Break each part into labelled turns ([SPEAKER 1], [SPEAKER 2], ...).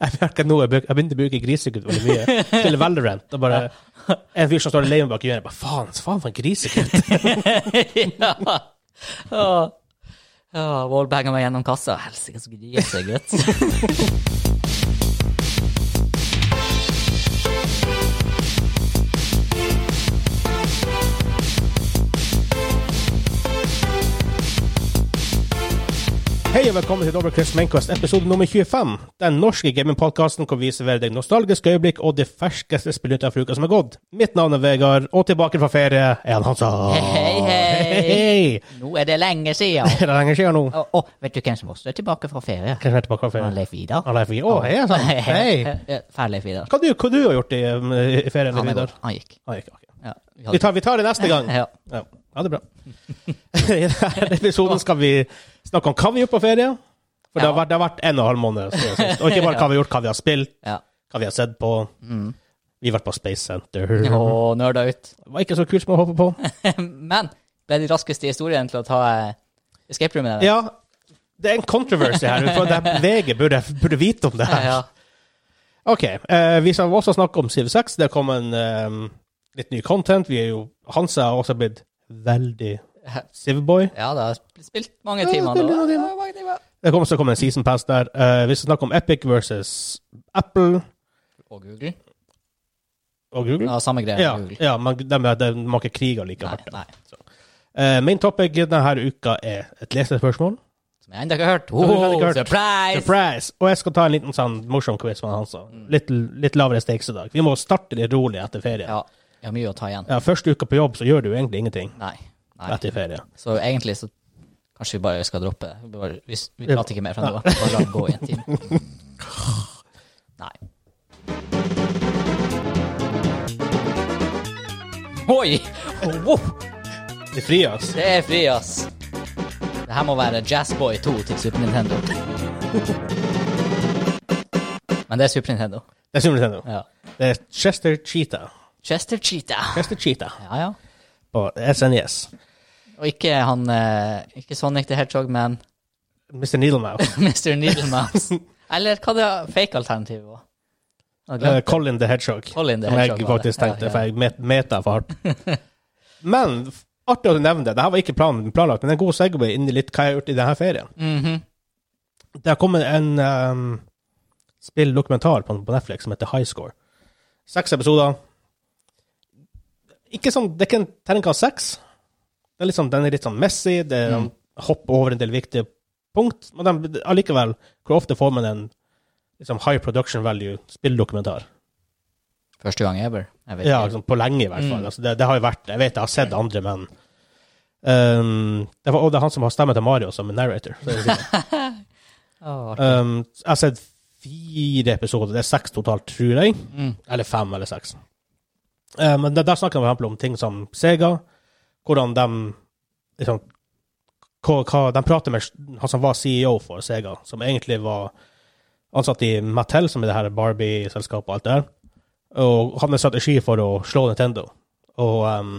[SPEAKER 1] Jeg merker nå, jeg, bruk, jeg begynte å bruke grisegutt veldig mye. Spille Valorant. Og bare, en fyr som står alene bak hjørnet, bare faen, faen for en grisegutt.
[SPEAKER 2] ja. Åh. Åh, Wallbanger meg gjennom kassa. Helsike, så gnier seg, gutt.
[SPEAKER 1] Hei og velkommen til Dobbeltkryss Mainquest, episode nummer 25. Den norske gamingpodkasten hvor vi serverer deg nostalgiske øyeblikk og de ferskeste spillene fra uka som er gått. Mitt navn er Vegard, og tilbake fra ferie er han Hansa.
[SPEAKER 2] Hei, hei.
[SPEAKER 1] hei.
[SPEAKER 2] Nå er det lenge siden.
[SPEAKER 1] Det er lenge siden nå.
[SPEAKER 2] Åh, åh, vet du hvem som også er tilbake fra ferie?
[SPEAKER 1] Kanskje jeg er tilbake fra
[SPEAKER 2] Han
[SPEAKER 1] ferie.
[SPEAKER 2] Leif Vidar.
[SPEAKER 1] Alle er fri. Å, hei, sann. Hei.
[SPEAKER 2] Ja, Ferdig Leif Vidar.
[SPEAKER 1] Hva, du, hva du har gjort i, um, i ferien?
[SPEAKER 2] Han, er
[SPEAKER 1] Vidar?
[SPEAKER 2] god. han gikk.
[SPEAKER 1] Ah, ikke, ok.
[SPEAKER 2] Ja, vi
[SPEAKER 1] Vi
[SPEAKER 2] hadde-
[SPEAKER 1] tar, vi tar det neste gang.
[SPEAKER 2] Ja.
[SPEAKER 1] Ja, ja det er bra. I denne episoden skal vi snakke om hva vi gjorde på ferie. For det, har
[SPEAKER 2] Ja.
[SPEAKER 1] vært, det har vært en og en halv måned. siden sist. Og ikke bare hva vi har gjort, hva vi har spilt,
[SPEAKER 2] ja.
[SPEAKER 1] hva vi har sett på.
[SPEAKER 2] Mm.
[SPEAKER 1] Vi har vært på Space Center.
[SPEAKER 2] Åh, nerda ut.
[SPEAKER 1] Det var ikke så kult som jeg håpet på.
[SPEAKER 2] Men ble de raskeste i historien til å ta eh, escape room?
[SPEAKER 1] Ja, det er en controversy her. For det er- VG burde, burde vite om det her.
[SPEAKER 2] ja.
[SPEAKER 1] Ok, eh, vi skal også snakke om Civ 6. Det kom en eh, litt ny content. Vi er jo, Hansa har også blitt veldig Civ-boy.
[SPEAKER 2] Ja, det har sp- spilt mange
[SPEAKER 1] Ja,
[SPEAKER 2] timer
[SPEAKER 1] spilt mange
[SPEAKER 2] nå.
[SPEAKER 1] timer.
[SPEAKER 2] Ja, mange timer.
[SPEAKER 1] Det kommer også å komme en season pass der. Eh, vi skal snakke om Epic versus Apple
[SPEAKER 2] Og Google.
[SPEAKER 1] og Google.
[SPEAKER 2] Ja, samme greie.
[SPEAKER 1] Mm. Ja,
[SPEAKER 2] Google.
[SPEAKER 1] ja man, de, de, de må ikke krige like
[SPEAKER 2] Nei,
[SPEAKER 1] hardt.
[SPEAKER 2] nei.
[SPEAKER 1] Eh, main topic denne uka er et lesespørsmål.
[SPEAKER 2] Som jeg ennå ikke har hørt.
[SPEAKER 1] vi har
[SPEAKER 2] Oh,
[SPEAKER 1] ikke hørt.
[SPEAKER 2] surprise!
[SPEAKER 1] Surprise! Og jeg skal ta en liten sånn morsom quiz med Hansa.
[SPEAKER 2] Mm.
[SPEAKER 1] Litt, litt lavere stakes i dag. Vi må starte litt rolig etter ferie. Ja.
[SPEAKER 2] Ja, jeg har mye å ta igjen.
[SPEAKER 1] første uka på jobb så gjør du jo egentlig ingenting
[SPEAKER 2] Nei. nei.
[SPEAKER 1] etter ferie.
[SPEAKER 2] Så egentlig så kanskje vi bare skal droppe det. Vi, bare, vi, vi prater ikke mer fra nå av. Bare la det gå i en time. Nei. Oi! Oh, wow.
[SPEAKER 1] Det fri, ass.
[SPEAKER 2] Det er fri, ass. Det her må være Jazzboy 2 til Super Nintendo. Men det er Super Nintendo.
[SPEAKER 1] Det er Super Nintendo.
[SPEAKER 2] Ja.
[SPEAKER 1] Det er Chester Cheetah.
[SPEAKER 2] Chester Cheetah.
[SPEAKER 1] Chester Cheetah
[SPEAKER 2] Ja, ja.
[SPEAKER 1] på E SNES.
[SPEAKER 2] Og ikke han eh, Ikke Sonic the Hedgehog, men
[SPEAKER 1] Mr. Needlemouse.
[SPEAKER 2] Mr. Needlemouse. Eller hva det fake-alternativet var. Jeg har glemt.
[SPEAKER 1] Eh, Colin the Hedgehog.
[SPEAKER 2] Colin the
[SPEAKER 1] Som
[SPEAKER 2] Hedgehog
[SPEAKER 1] jeg
[SPEAKER 2] var
[SPEAKER 1] faktisk
[SPEAKER 2] det.
[SPEAKER 1] tenkte,
[SPEAKER 2] Ja, ja.
[SPEAKER 1] for jeg met- meta for hardt. Men f- artig å nevne det. Dette var ikke planen, planlagt, men en god segway inn i litt hva jeg har gjort i denne ferien.
[SPEAKER 2] Mhm.
[SPEAKER 1] Det har kommet en um, spilldokumentar på, på Netflix som heter High Score. Seks episoder. Ikke sånn, Det er ikke en terningkast seks. Det er litt sånn, den er litt sånn messy. Det er,
[SPEAKER 2] Mm.
[SPEAKER 1] hopper over en del viktige punkt. Men den, allikevel, hvor ofte får man en liksom, high production value spilldokumentar?
[SPEAKER 2] Første gang ever. Jeg vet
[SPEAKER 1] Ja,
[SPEAKER 2] ikke.
[SPEAKER 1] liksom, på lenge i hvert fall.
[SPEAKER 2] Mm.
[SPEAKER 1] Altså, det, det har jo vært, Jeg vet jeg har sett andre, men um, det, var, og det er han som har stemmen til Mario som er narrator. Så jeg, sier.
[SPEAKER 2] Åh, artig.
[SPEAKER 1] um, jeg har sett fire episoder. Det er seks totalt, tror jeg.
[SPEAKER 2] mm.
[SPEAKER 1] Eller fem eller seks. Eh, men der, der snakker de for eksempel om ting som Sega, hvordan de liksom, hva, hva, De prater med altså han som var CEO E for Sega, som egentlig var ansatt i Mattel, som er det her Barbie-selskapet og alt det der, og hadde en strategi for å slå Nintendo. Og em,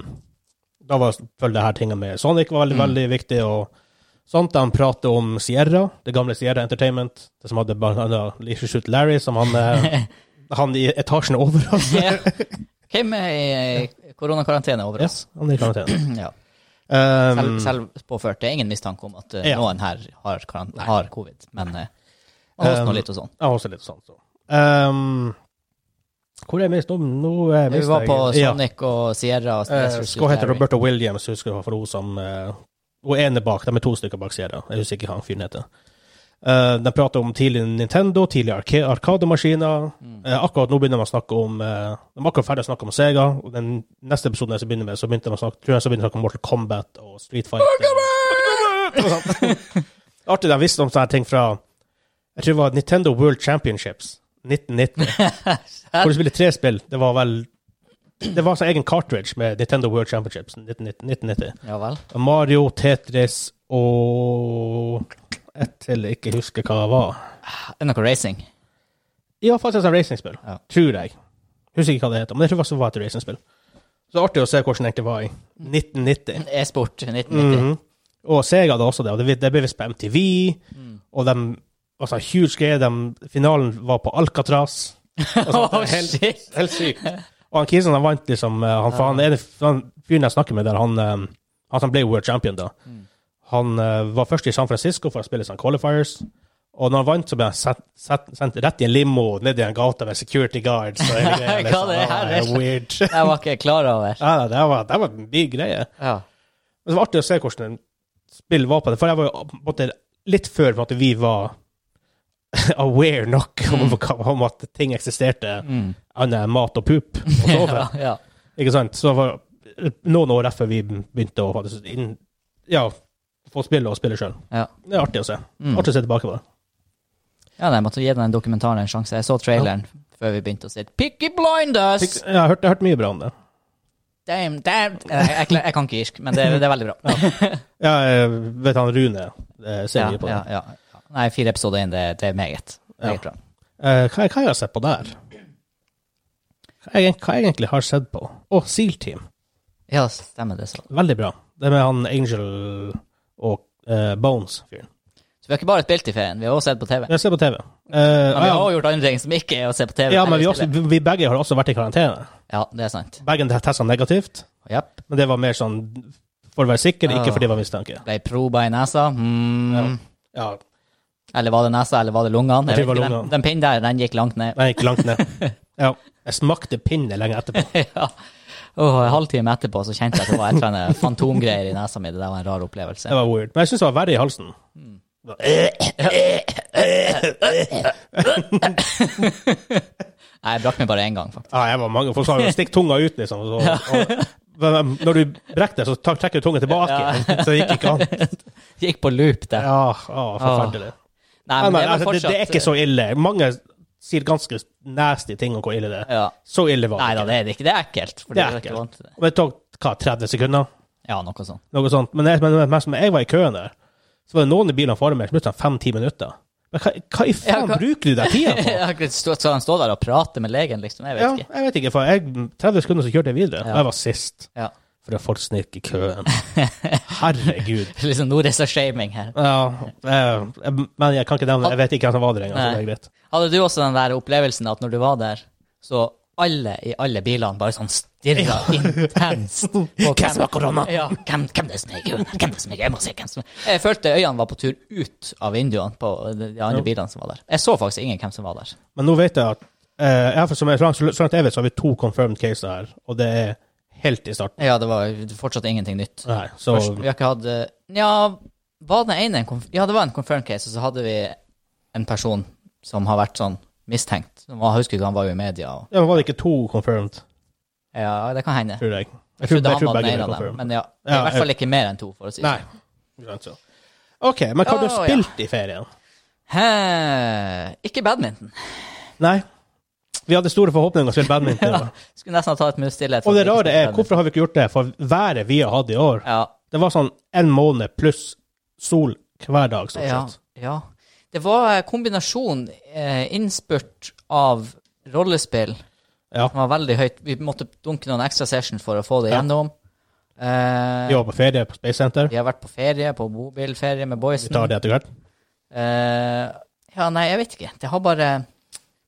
[SPEAKER 1] da var selvfølgelig det her tinget med Sonic var veldig,
[SPEAKER 2] Mm.
[SPEAKER 1] veldig viktig, og sånt. De prater om Sierra, det gamle Sierra Entertainment, det som hadde blant annet Leisure Suit Larry, som han eh, han i etasjen over oss.
[SPEAKER 2] Ja. Hvem er i i koronakarantene over
[SPEAKER 1] Ja,
[SPEAKER 2] oss?
[SPEAKER 1] han er i karantene.
[SPEAKER 2] Ja. Selv,
[SPEAKER 1] Um,
[SPEAKER 2] selv påført. Det er ingen mistanke om at eh,
[SPEAKER 1] Ja.
[SPEAKER 2] noen her har, karan- har covid, men eh, man hoster nå
[SPEAKER 1] Um,
[SPEAKER 2] litt og sånn.
[SPEAKER 1] ja, også litt sånn, så. Um, hvor er jeg mest om? Nå er jeg
[SPEAKER 2] Vi
[SPEAKER 1] mest
[SPEAKER 2] var på
[SPEAKER 1] Ja.
[SPEAKER 2] Sonic og Sierra og
[SPEAKER 1] Eh,
[SPEAKER 2] Sylvester
[SPEAKER 1] Hva heter
[SPEAKER 2] Larry.
[SPEAKER 1] Roberta Williams, husker jeg, for hun som eh, Hun ene bak, de er to stykker bak serien. Jeg husker ikke hva han fyren heter. Eh, de prater om tidlig Nintendo, tidlig arke- Arkademaskiner. Eh, akkurat nå begynner de å snakke om eh, De er akkurat ferdig å snakke om Sega. Og den neste episoden jeg skal begynne med, så begynte de å snakke, tror jeg så begynte de å snakke om Mortal Kombat og Street Fighter. Mortal Kombat! Artig de visste om sånne ting fra Jeg tror det var Nintendo World Championships 1990. hvor de spiller tre spill. Det var vel det var sin egen cartridge med Nintendo World Championships 1990. 1990.
[SPEAKER 2] Ja vel.
[SPEAKER 1] Mario, Tetris og et til jeg ikke husker hva det var.
[SPEAKER 2] Er det noe racing?
[SPEAKER 1] Ja, faktisk et racingspill,
[SPEAKER 2] Ja.
[SPEAKER 1] tror jeg. Husker ikke hva det heter, men jeg tror faktisk det var et racingspill. Så artig å se hvordan det egentlig var i 1990. Mm.
[SPEAKER 2] E-sport 1990. Mm.
[SPEAKER 1] Mhm. Og Sega hadde også det, og det, det ble vist på MTV, og de altså, huge greie. De, finalen var på Alcatraz. Altså,
[SPEAKER 2] Åh,
[SPEAKER 1] helt-
[SPEAKER 2] shit!
[SPEAKER 1] Helt sykt. Og han Kisen han vant liksom eh, Han, for han ene han fyren jeg snakker med der, han, eh, han som ble world champion da,
[SPEAKER 2] Mm.
[SPEAKER 1] han eh, var først i San Francisco for å spille sånn qualifiers. Og når han vant, så ble han sett- sett- sendt rett i en limo ned i en gate med security guards. Og hele greia,
[SPEAKER 2] Hva
[SPEAKER 1] liksom.
[SPEAKER 2] det
[SPEAKER 1] Det
[SPEAKER 2] her
[SPEAKER 1] var
[SPEAKER 2] er?
[SPEAKER 1] weird.
[SPEAKER 2] Jeg var ikke klar over.
[SPEAKER 1] Ja, det var, det var en big greie.
[SPEAKER 2] Ja.
[SPEAKER 1] Men det var artig å se hvordan spill var på det. For jeg var jo på en måte litt før på en måte, vi var aware nok om, om at ting eksisterte,
[SPEAKER 2] Mm.
[SPEAKER 1] annet enn mat og pup og sove.
[SPEAKER 2] ja, ja.
[SPEAKER 1] Ikke sant? Så det var noen år etter vi begynte å faktisk inn, ja, få spille og spille sjøl.
[SPEAKER 2] Ja.
[SPEAKER 1] Det er artig å se.
[SPEAKER 2] Mm.
[SPEAKER 1] Artig å se tilbake på det.
[SPEAKER 2] ja, nei, jeg måtte gi den dokumentaren en sjanse. Jeg så traileren før vi begynte å si Picky blinders!
[SPEAKER 1] Fikk- Jeg har hørt, jeg har hørt mye bra om det.
[SPEAKER 2] Damn, damn! Jeg, jeg, kla- jeg kan ikke irsk, men det, det er veldig bra.
[SPEAKER 1] Ja, jeg vet han Rune eh, ser
[SPEAKER 2] Ja,
[SPEAKER 1] mye på det.
[SPEAKER 2] ja, ja. Nei, fire episoder inn, det, det er meget.
[SPEAKER 1] Ja.
[SPEAKER 2] Meget bra.
[SPEAKER 1] Eh, hva, hva har jeg sett på der? Hva jeg, hva jeg egentlig har sett på? Å, Seal Team.
[SPEAKER 2] Ja, stemmer det. Så.
[SPEAKER 1] Veldig bra. Det med han Angel og eh, Bones-fyren.
[SPEAKER 2] så vi har ikke bare spilt i ferien, vi har også sett på TV.
[SPEAKER 1] Jeg ser på TV. Eh,
[SPEAKER 2] Men vi har også gjort andre ting som ikke er å se på TV.
[SPEAKER 1] ja, men vi,
[SPEAKER 2] eller
[SPEAKER 1] også,
[SPEAKER 2] spille.
[SPEAKER 1] vi vi begge har også vært i karantene.
[SPEAKER 2] Ja, det er sant.
[SPEAKER 1] Begge testa negativt.
[SPEAKER 2] Japp.
[SPEAKER 1] Men det var mer sånn for å være sikker, ikke
[SPEAKER 2] Ah.
[SPEAKER 1] fordi det var mistanke.
[SPEAKER 2] Ble proba i nesa. Mm.
[SPEAKER 1] Ja,
[SPEAKER 2] Eller var det nesa, eller var det lungene?
[SPEAKER 1] Jeg tror
[SPEAKER 2] Jeg vet
[SPEAKER 1] det var
[SPEAKER 2] ikke.
[SPEAKER 1] lungene.
[SPEAKER 2] Den, den pinnen der, den gikk langt ned.
[SPEAKER 1] Den gikk langt ned. Ja. Jeg smakte pinne lenge etterpå.
[SPEAKER 2] ja. Åh, en halvtime etterpå så kjente jeg at det var et eller annet fantomgreier i nesa mi. Det der var en rar opplevelse.
[SPEAKER 1] Det var weird. Men jeg syns det var verre i halsen.
[SPEAKER 2] Nei, jeg brakk meg bare én gang, faktisk.
[SPEAKER 1] Ja, jeg var mange Folk sa jo 'stikk tunga ut', liksom. Så, og, men når du brekker deg, så tar- trekker du tunga tilbake. Så det gikk ikke an.
[SPEAKER 2] Gikk på loop der.
[SPEAKER 1] Ja, å, forferdelig.
[SPEAKER 2] Nei,
[SPEAKER 1] Nei,
[SPEAKER 2] men
[SPEAKER 1] men,
[SPEAKER 2] det var
[SPEAKER 1] altså, det,
[SPEAKER 2] fortsatt
[SPEAKER 1] det er ikke så ille. Mange sier ganske nasty ting om hvor ille det er.
[SPEAKER 2] ja.
[SPEAKER 1] Så ille var
[SPEAKER 2] Nei
[SPEAKER 1] det
[SPEAKER 2] da,
[SPEAKER 1] ikke.
[SPEAKER 2] det er det ikke. Det er ekkelt.
[SPEAKER 1] Det
[SPEAKER 2] For det
[SPEAKER 1] er
[SPEAKER 2] er ikke
[SPEAKER 1] ekkelt.
[SPEAKER 2] vant til det.
[SPEAKER 1] Og Det tok hva, 30 sekunder,
[SPEAKER 2] Ja, noe sånt.
[SPEAKER 1] noe sånt. Men jeg, men, men, men jeg var i køen der, så var det noen i bilene foran meg som brukte sånn fem-ti minutter. Men hva, hva i faen
[SPEAKER 2] Ja, hva-
[SPEAKER 1] bruker du den tida på?
[SPEAKER 2] Jeg har ikke- Skal han stå der og prate med legen, liksom? Jeg vet
[SPEAKER 1] Ja,
[SPEAKER 2] ikke.
[SPEAKER 1] jeg vet ikke, for jeg, 30 sekunder så kjørte jeg videre.
[SPEAKER 2] Ja.
[SPEAKER 1] Og jeg var sist,
[SPEAKER 2] Ja.
[SPEAKER 1] fordi folk snek i køen. Herregud.
[SPEAKER 2] Liksom, nå er det så shaming her.
[SPEAKER 1] Ja, eh, men jeg kan ikke nevne Jeg vet ikke hvem som var der engang, så
[SPEAKER 2] Nei.
[SPEAKER 1] det er greit.
[SPEAKER 2] Hadde du også den der opplevelsen at når du var der, så alle i alle bilene bare sånn stirra intenst på
[SPEAKER 1] Hvem som har korona?
[SPEAKER 2] Ja, hvem, hvem det er som er i køen her? Hvem det er som er i køen? Jeg må se hvem som Jeg følte øynene var på tur ut av vinduene på de andre bilene som var der. Jeg så faktisk ingen hvem som var der.
[SPEAKER 1] Men nå vet jeg at eh, jeg har fått- som jeg, så langt- Så langt jeg vet, så har vi to confirmed cases her, og det er helt i starten.
[SPEAKER 2] Ja, det var fortsatt ingenting nytt.
[SPEAKER 1] Nei, så
[SPEAKER 2] Først, vi har ikke hatt eh, Nja, var den ene en konf Ja, det var en confirmed case, og så hadde vi en person som har vært sånn mistenkt. Jeg husker ikke, han var jo i media. Og,
[SPEAKER 1] ja, men Var det ikke to confirmed,
[SPEAKER 2] ja, det kan hende.
[SPEAKER 1] tror jeg? Jeg
[SPEAKER 2] Jeg
[SPEAKER 1] tror,
[SPEAKER 2] trodde
[SPEAKER 1] jeg
[SPEAKER 2] han
[SPEAKER 1] tror
[SPEAKER 2] var den
[SPEAKER 1] begge
[SPEAKER 2] ene
[SPEAKER 1] er
[SPEAKER 2] av dem,
[SPEAKER 1] confirmed.
[SPEAKER 2] men ja, det er
[SPEAKER 1] Ja,
[SPEAKER 2] i hvert
[SPEAKER 1] jeg-
[SPEAKER 2] fall ikke mer enn to, for å si det
[SPEAKER 1] Nei. Ikke sant, så. OK, men hva har du
[SPEAKER 2] Å,
[SPEAKER 1] spilt i ferien?
[SPEAKER 2] Hæ, sånn. Ikke badminton.
[SPEAKER 1] Nei. Vi hadde store forhåpninger om å spille badminton.
[SPEAKER 2] Ja. Skulle nesten ha tatt et minutts stillhet. for
[SPEAKER 1] Og det
[SPEAKER 2] at jeg ikke
[SPEAKER 1] rare er,
[SPEAKER 2] skulle
[SPEAKER 1] hvorfor har vi ikke gjort det? For været vi har hatt i år,
[SPEAKER 2] badminton.
[SPEAKER 1] det var sånn en måned pluss sol hver dag, stort
[SPEAKER 2] Ja,
[SPEAKER 1] sett.
[SPEAKER 2] ja, ja. Det var kombinasjon eh, innspurt av rollespill
[SPEAKER 1] Ja.
[SPEAKER 2] som var veldig høyt. Vi måtte dunke noen ekstra session for å få det
[SPEAKER 1] Ja.
[SPEAKER 2] gjennom. Eh,
[SPEAKER 1] Vi var på ferie på Space Center.
[SPEAKER 2] vi har vært på ferie, på bobilferie med
[SPEAKER 1] Vi
[SPEAKER 2] boysen.
[SPEAKER 1] tar det etter hvert.
[SPEAKER 2] Eh, ja, nei, jeg vet ikke. Det har bare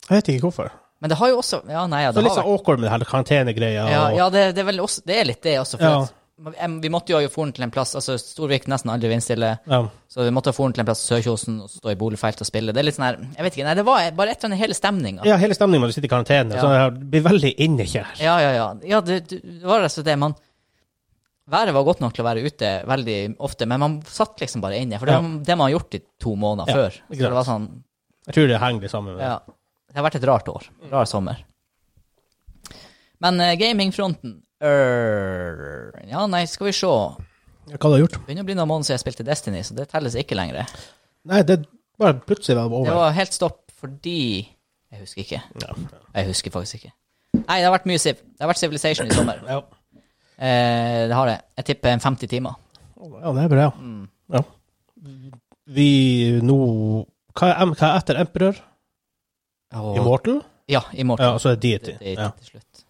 [SPEAKER 1] Jeg vet ikke hvorfor.
[SPEAKER 2] Men det har jo også Ja, nei, ja,
[SPEAKER 1] Det
[SPEAKER 2] det
[SPEAKER 1] er litt
[SPEAKER 2] har
[SPEAKER 1] sånn awkward med det her karantenegreia.
[SPEAKER 2] Ja,
[SPEAKER 1] og-
[SPEAKER 2] ja det, det, er vel også, det er litt det også. For
[SPEAKER 1] Ja.
[SPEAKER 2] at, em, vi måtte jo ha foren til en plass altså Storvik nesten aldri vindstille,
[SPEAKER 1] Ja.
[SPEAKER 2] så vi måtte ha foren til en plass i Sørkjosen og stå i boligfelt og spille. Det er litt sånn her Jeg vet ikke. Nei, det var bare et eller annet i hele stemninga. Ja.
[SPEAKER 1] Ja, hele stemningen når du sitter i karantene.
[SPEAKER 2] Ja.
[SPEAKER 1] Så det her blir veldig innekjær.
[SPEAKER 2] Ja, ja, ja. det, det det var rett og slett det. Man Været var godt nok til å være ute veldig ofte, men man satt liksom bare inne. For det,
[SPEAKER 1] Ja.
[SPEAKER 2] var det man har gjort i to måneder
[SPEAKER 1] Ja,
[SPEAKER 2] før. Så
[SPEAKER 1] greit.
[SPEAKER 2] det var sånn
[SPEAKER 1] Jeg tror det henger litt sammen med det.
[SPEAKER 2] Ja. Det har vært et rart år. Rar sommer. Men eh, gamingfronten Err. Ja, nei, skal vi se.
[SPEAKER 1] Hva du har gjort?
[SPEAKER 2] begynner å bli noen måneder siden jeg spilte Destiny, så det telles ikke lenger.
[SPEAKER 1] Nei, det bare plutselig var det over.
[SPEAKER 2] Det var helt stopp fordi Jeg husker ikke.
[SPEAKER 1] Ja.
[SPEAKER 2] Jeg husker faktisk ikke. Nei, det har vært mye Civ. Det har vært Civilization i sommer.
[SPEAKER 1] Ja.
[SPEAKER 2] Eh, det har det. Jeg tipper en 50 timer. Mm.
[SPEAKER 1] ja, det er bra. Ja. Vi nå Hva er, hva er etter Emperor?
[SPEAKER 2] Og,
[SPEAKER 1] Immortal?
[SPEAKER 2] Ja, i morgen.
[SPEAKER 1] Ja, og så er det
[SPEAKER 2] Det-
[SPEAKER 1] Deity.
[SPEAKER 2] det-
[SPEAKER 1] Ja.
[SPEAKER 2] til slutt.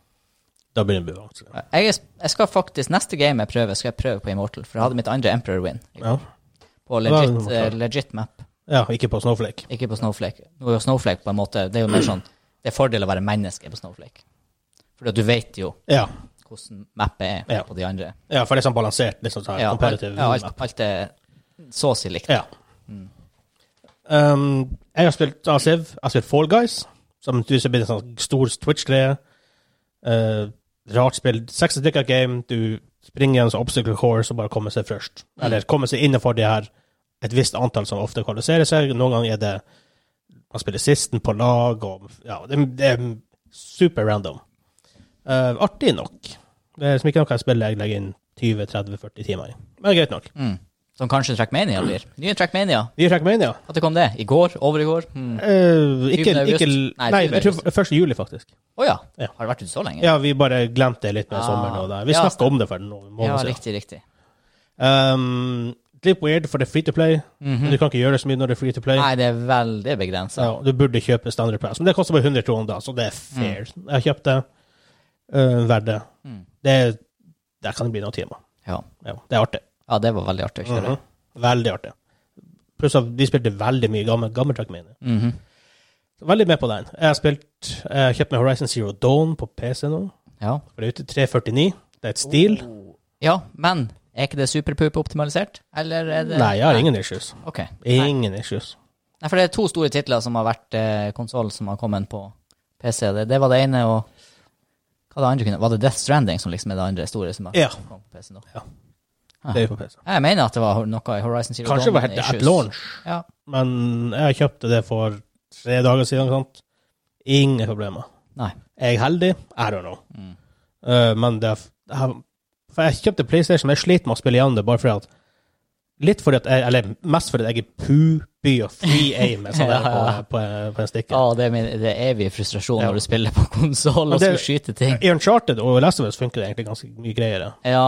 [SPEAKER 1] Da begynner det å bli vanskelig.
[SPEAKER 2] Jeg, er- jeg skal faktisk, Neste game jeg prøver, skal jeg prøve på Immortal, for jeg hadde mitt andre Emperor win
[SPEAKER 1] Ja.
[SPEAKER 2] på
[SPEAKER 1] Det var
[SPEAKER 2] legit,
[SPEAKER 1] Immortal.
[SPEAKER 2] eh, legit map.
[SPEAKER 1] Ja, ikke på Snowflake.
[SPEAKER 2] Ikke på Snowflake. Nå er jo Snowflake på en måte Det er jo mer sånn Det er fordel å være menneske på Snowflake. Fordi at du vet jo
[SPEAKER 1] Ja,
[SPEAKER 2] hvordan mappet er
[SPEAKER 1] Ja.
[SPEAKER 2] på de andre.
[SPEAKER 1] ja for det er sånn balansert, liksom sånn her,
[SPEAKER 2] Ja, alt,
[SPEAKER 1] comparative
[SPEAKER 2] ja, alt,
[SPEAKER 1] map.
[SPEAKER 2] alt er så å si likt.
[SPEAKER 1] Ja. Mm. Um, jeg har spilt ACV, jeg har spilt Fall Guys, som tydeligvis blir en sånn stor Twitch-greie. Eh, rart spill. 60 stykker game, du springer en sånn obstacle course og bare kommer seg først. Eller kommer seg innenfor det her et visst antall som ofte kvalifiserer seg. Noen ganger er det man spiller sisten på lag, og ja, det, det er super random. Eh, artig nok. Det er liksom ikke noe jeg spiller jeg legger inn 20-30-40 timer i. Men greit nok.
[SPEAKER 2] Mm. Som kanskje Trackmania blir. Nye Trackmania.
[SPEAKER 1] Nye Trackmania.
[SPEAKER 2] At det kom det? I går? Over i går? Å mm.
[SPEAKER 1] Eh, ikke,
[SPEAKER 2] Syvende august?
[SPEAKER 1] ikke
[SPEAKER 2] Nei,
[SPEAKER 1] Nei,
[SPEAKER 2] syvende
[SPEAKER 1] jeg tror f- første juli, faktisk.
[SPEAKER 2] Å ja.
[SPEAKER 1] Ja.
[SPEAKER 2] Har det vært ute så lenge?
[SPEAKER 1] Ja, vi bare glemte det litt med
[SPEAKER 2] Ah,
[SPEAKER 1] sommeren og det. Vi
[SPEAKER 2] ja,
[SPEAKER 1] snakket om det for noen
[SPEAKER 2] Ja,
[SPEAKER 1] måneder siden.
[SPEAKER 2] riktig, riktig.
[SPEAKER 1] Um, litt weird, for det er free to play.
[SPEAKER 2] Mhm.
[SPEAKER 1] Du kan ikke gjøre så mye når det er free to play.
[SPEAKER 2] Nei, det er Mm. veldig begrensa.
[SPEAKER 1] Ja, du burde kjøpe standard pass, men det koster bare 100 kroner da, så det er fair. Jeg kjøpte uh, verdt det.
[SPEAKER 2] Mm.
[SPEAKER 1] Det Der kan det bli noen timer.
[SPEAKER 2] Ja.
[SPEAKER 1] Ja, det er artig.
[SPEAKER 2] ja, det var veldig artig å kjøre.
[SPEAKER 1] Mhm. Veldig artig. Pluss at vi spilte veldig mye gammel, gammel Trackmania.
[SPEAKER 2] Mhm.
[SPEAKER 1] Veldig med på den. Jeg har spilt, jeg har kjøpt meg Horizon Zero Dawn på PC nå.
[SPEAKER 2] Ja.
[SPEAKER 1] For det er ute 349. Det er et stil.
[SPEAKER 2] Oh. ja, men er ikke det superpup-optimalisert? Eller er det
[SPEAKER 1] Nei, jeg har ingen issues.
[SPEAKER 2] Ok. Nei.
[SPEAKER 1] Ingen issues.
[SPEAKER 2] Nei, for det er to store titler som har vært eh, konsoll som har kommet på PC. Det, det var det ene, og hva det andre kunne Var det Death Stranding som liksom er det andre store som har
[SPEAKER 1] Ja.
[SPEAKER 2] kommet på PC nå?
[SPEAKER 1] Det er jo på PC.
[SPEAKER 2] Jeg mener at det var noe i Horizon Zero
[SPEAKER 1] Kanskje det
[SPEAKER 2] Dawn
[SPEAKER 1] var helt
[SPEAKER 2] issues.
[SPEAKER 1] at launch,
[SPEAKER 2] Ja.
[SPEAKER 1] men jeg kjøpte det for tre dager siden. ikke Sant? Ingen problemer.
[SPEAKER 2] Nei.
[SPEAKER 1] Er jeg heldig? I don't know.
[SPEAKER 2] Mm.
[SPEAKER 1] Eh, men det er f- jeg har- For jeg kjøpte PlayStation, men jeg sliter med å spille igjen det bare fordi at Litt fordi at jeg, eller mest fordi at jeg er poopy og free aim sånn der på,
[SPEAKER 2] Ja, ja.
[SPEAKER 1] på, på en stikker.
[SPEAKER 2] Ja, det er, min, det er evig frustrasjon
[SPEAKER 1] Ja.
[SPEAKER 2] når du spiller på konsoll og
[SPEAKER 1] Og det-
[SPEAKER 2] skal skyte ting.
[SPEAKER 1] I Uncharted og Last of Us funker det egentlig ganske mye greiere.
[SPEAKER 2] Ja.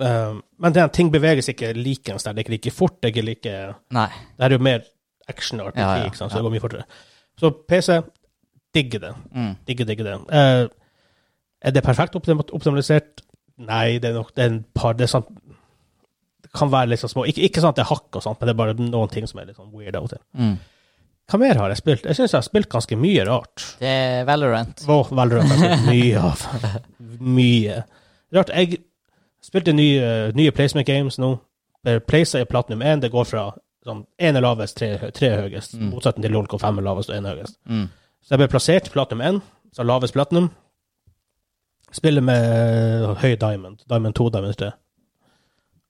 [SPEAKER 1] Eh, men det, er- ting beveges ikke likens der. Det er ikke like fort. Det er ikke like
[SPEAKER 2] Nei.
[SPEAKER 1] Det her er jo mer action og RPG,
[SPEAKER 2] Ja, ja,
[SPEAKER 1] ikke sant?
[SPEAKER 2] ja.
[SPEAKER 1] så det går mye fortere. Så PC, digger det.
[SPEAKER 2] Mm.
[SPEAKER 1] Digger, digger det. Eh, er det perfekt optim optimalisert? Nei, det er nok det er en par Det, er sant, det kan være litt sånn små Ikke, ikke sånn at det er hakk og sånt, men det er bare noen ting som er litt sånn weird out there.
[SPEAKER 2] Mm.
[SPEAKER 1] Hva mer har jeg spilt? Jeg syns jeg har spilt ganske mye rart.
[SPEAKER 2] Det er Valorant.
[SPEAKER 1] Åh, Valorant har jeg spilt mye av. Mye. Rart. Jeg spilte nye, nye Placement Games nå. Der Placer er platinum 1. Det går fra sånn én er lavest, tre, hø- tre er høyest.
[SPEAKER 2] Mm.
[SPEAKER 1] Motsetning til LOLK 5 er lavest og én høyest.
[SPEAKER 2] Mm.
[SPEAKER 1] Så jeg ble plassert platinum 1, så lavest platinum. Spiller med eh, høy diamond. Diamond 2, diamond 3.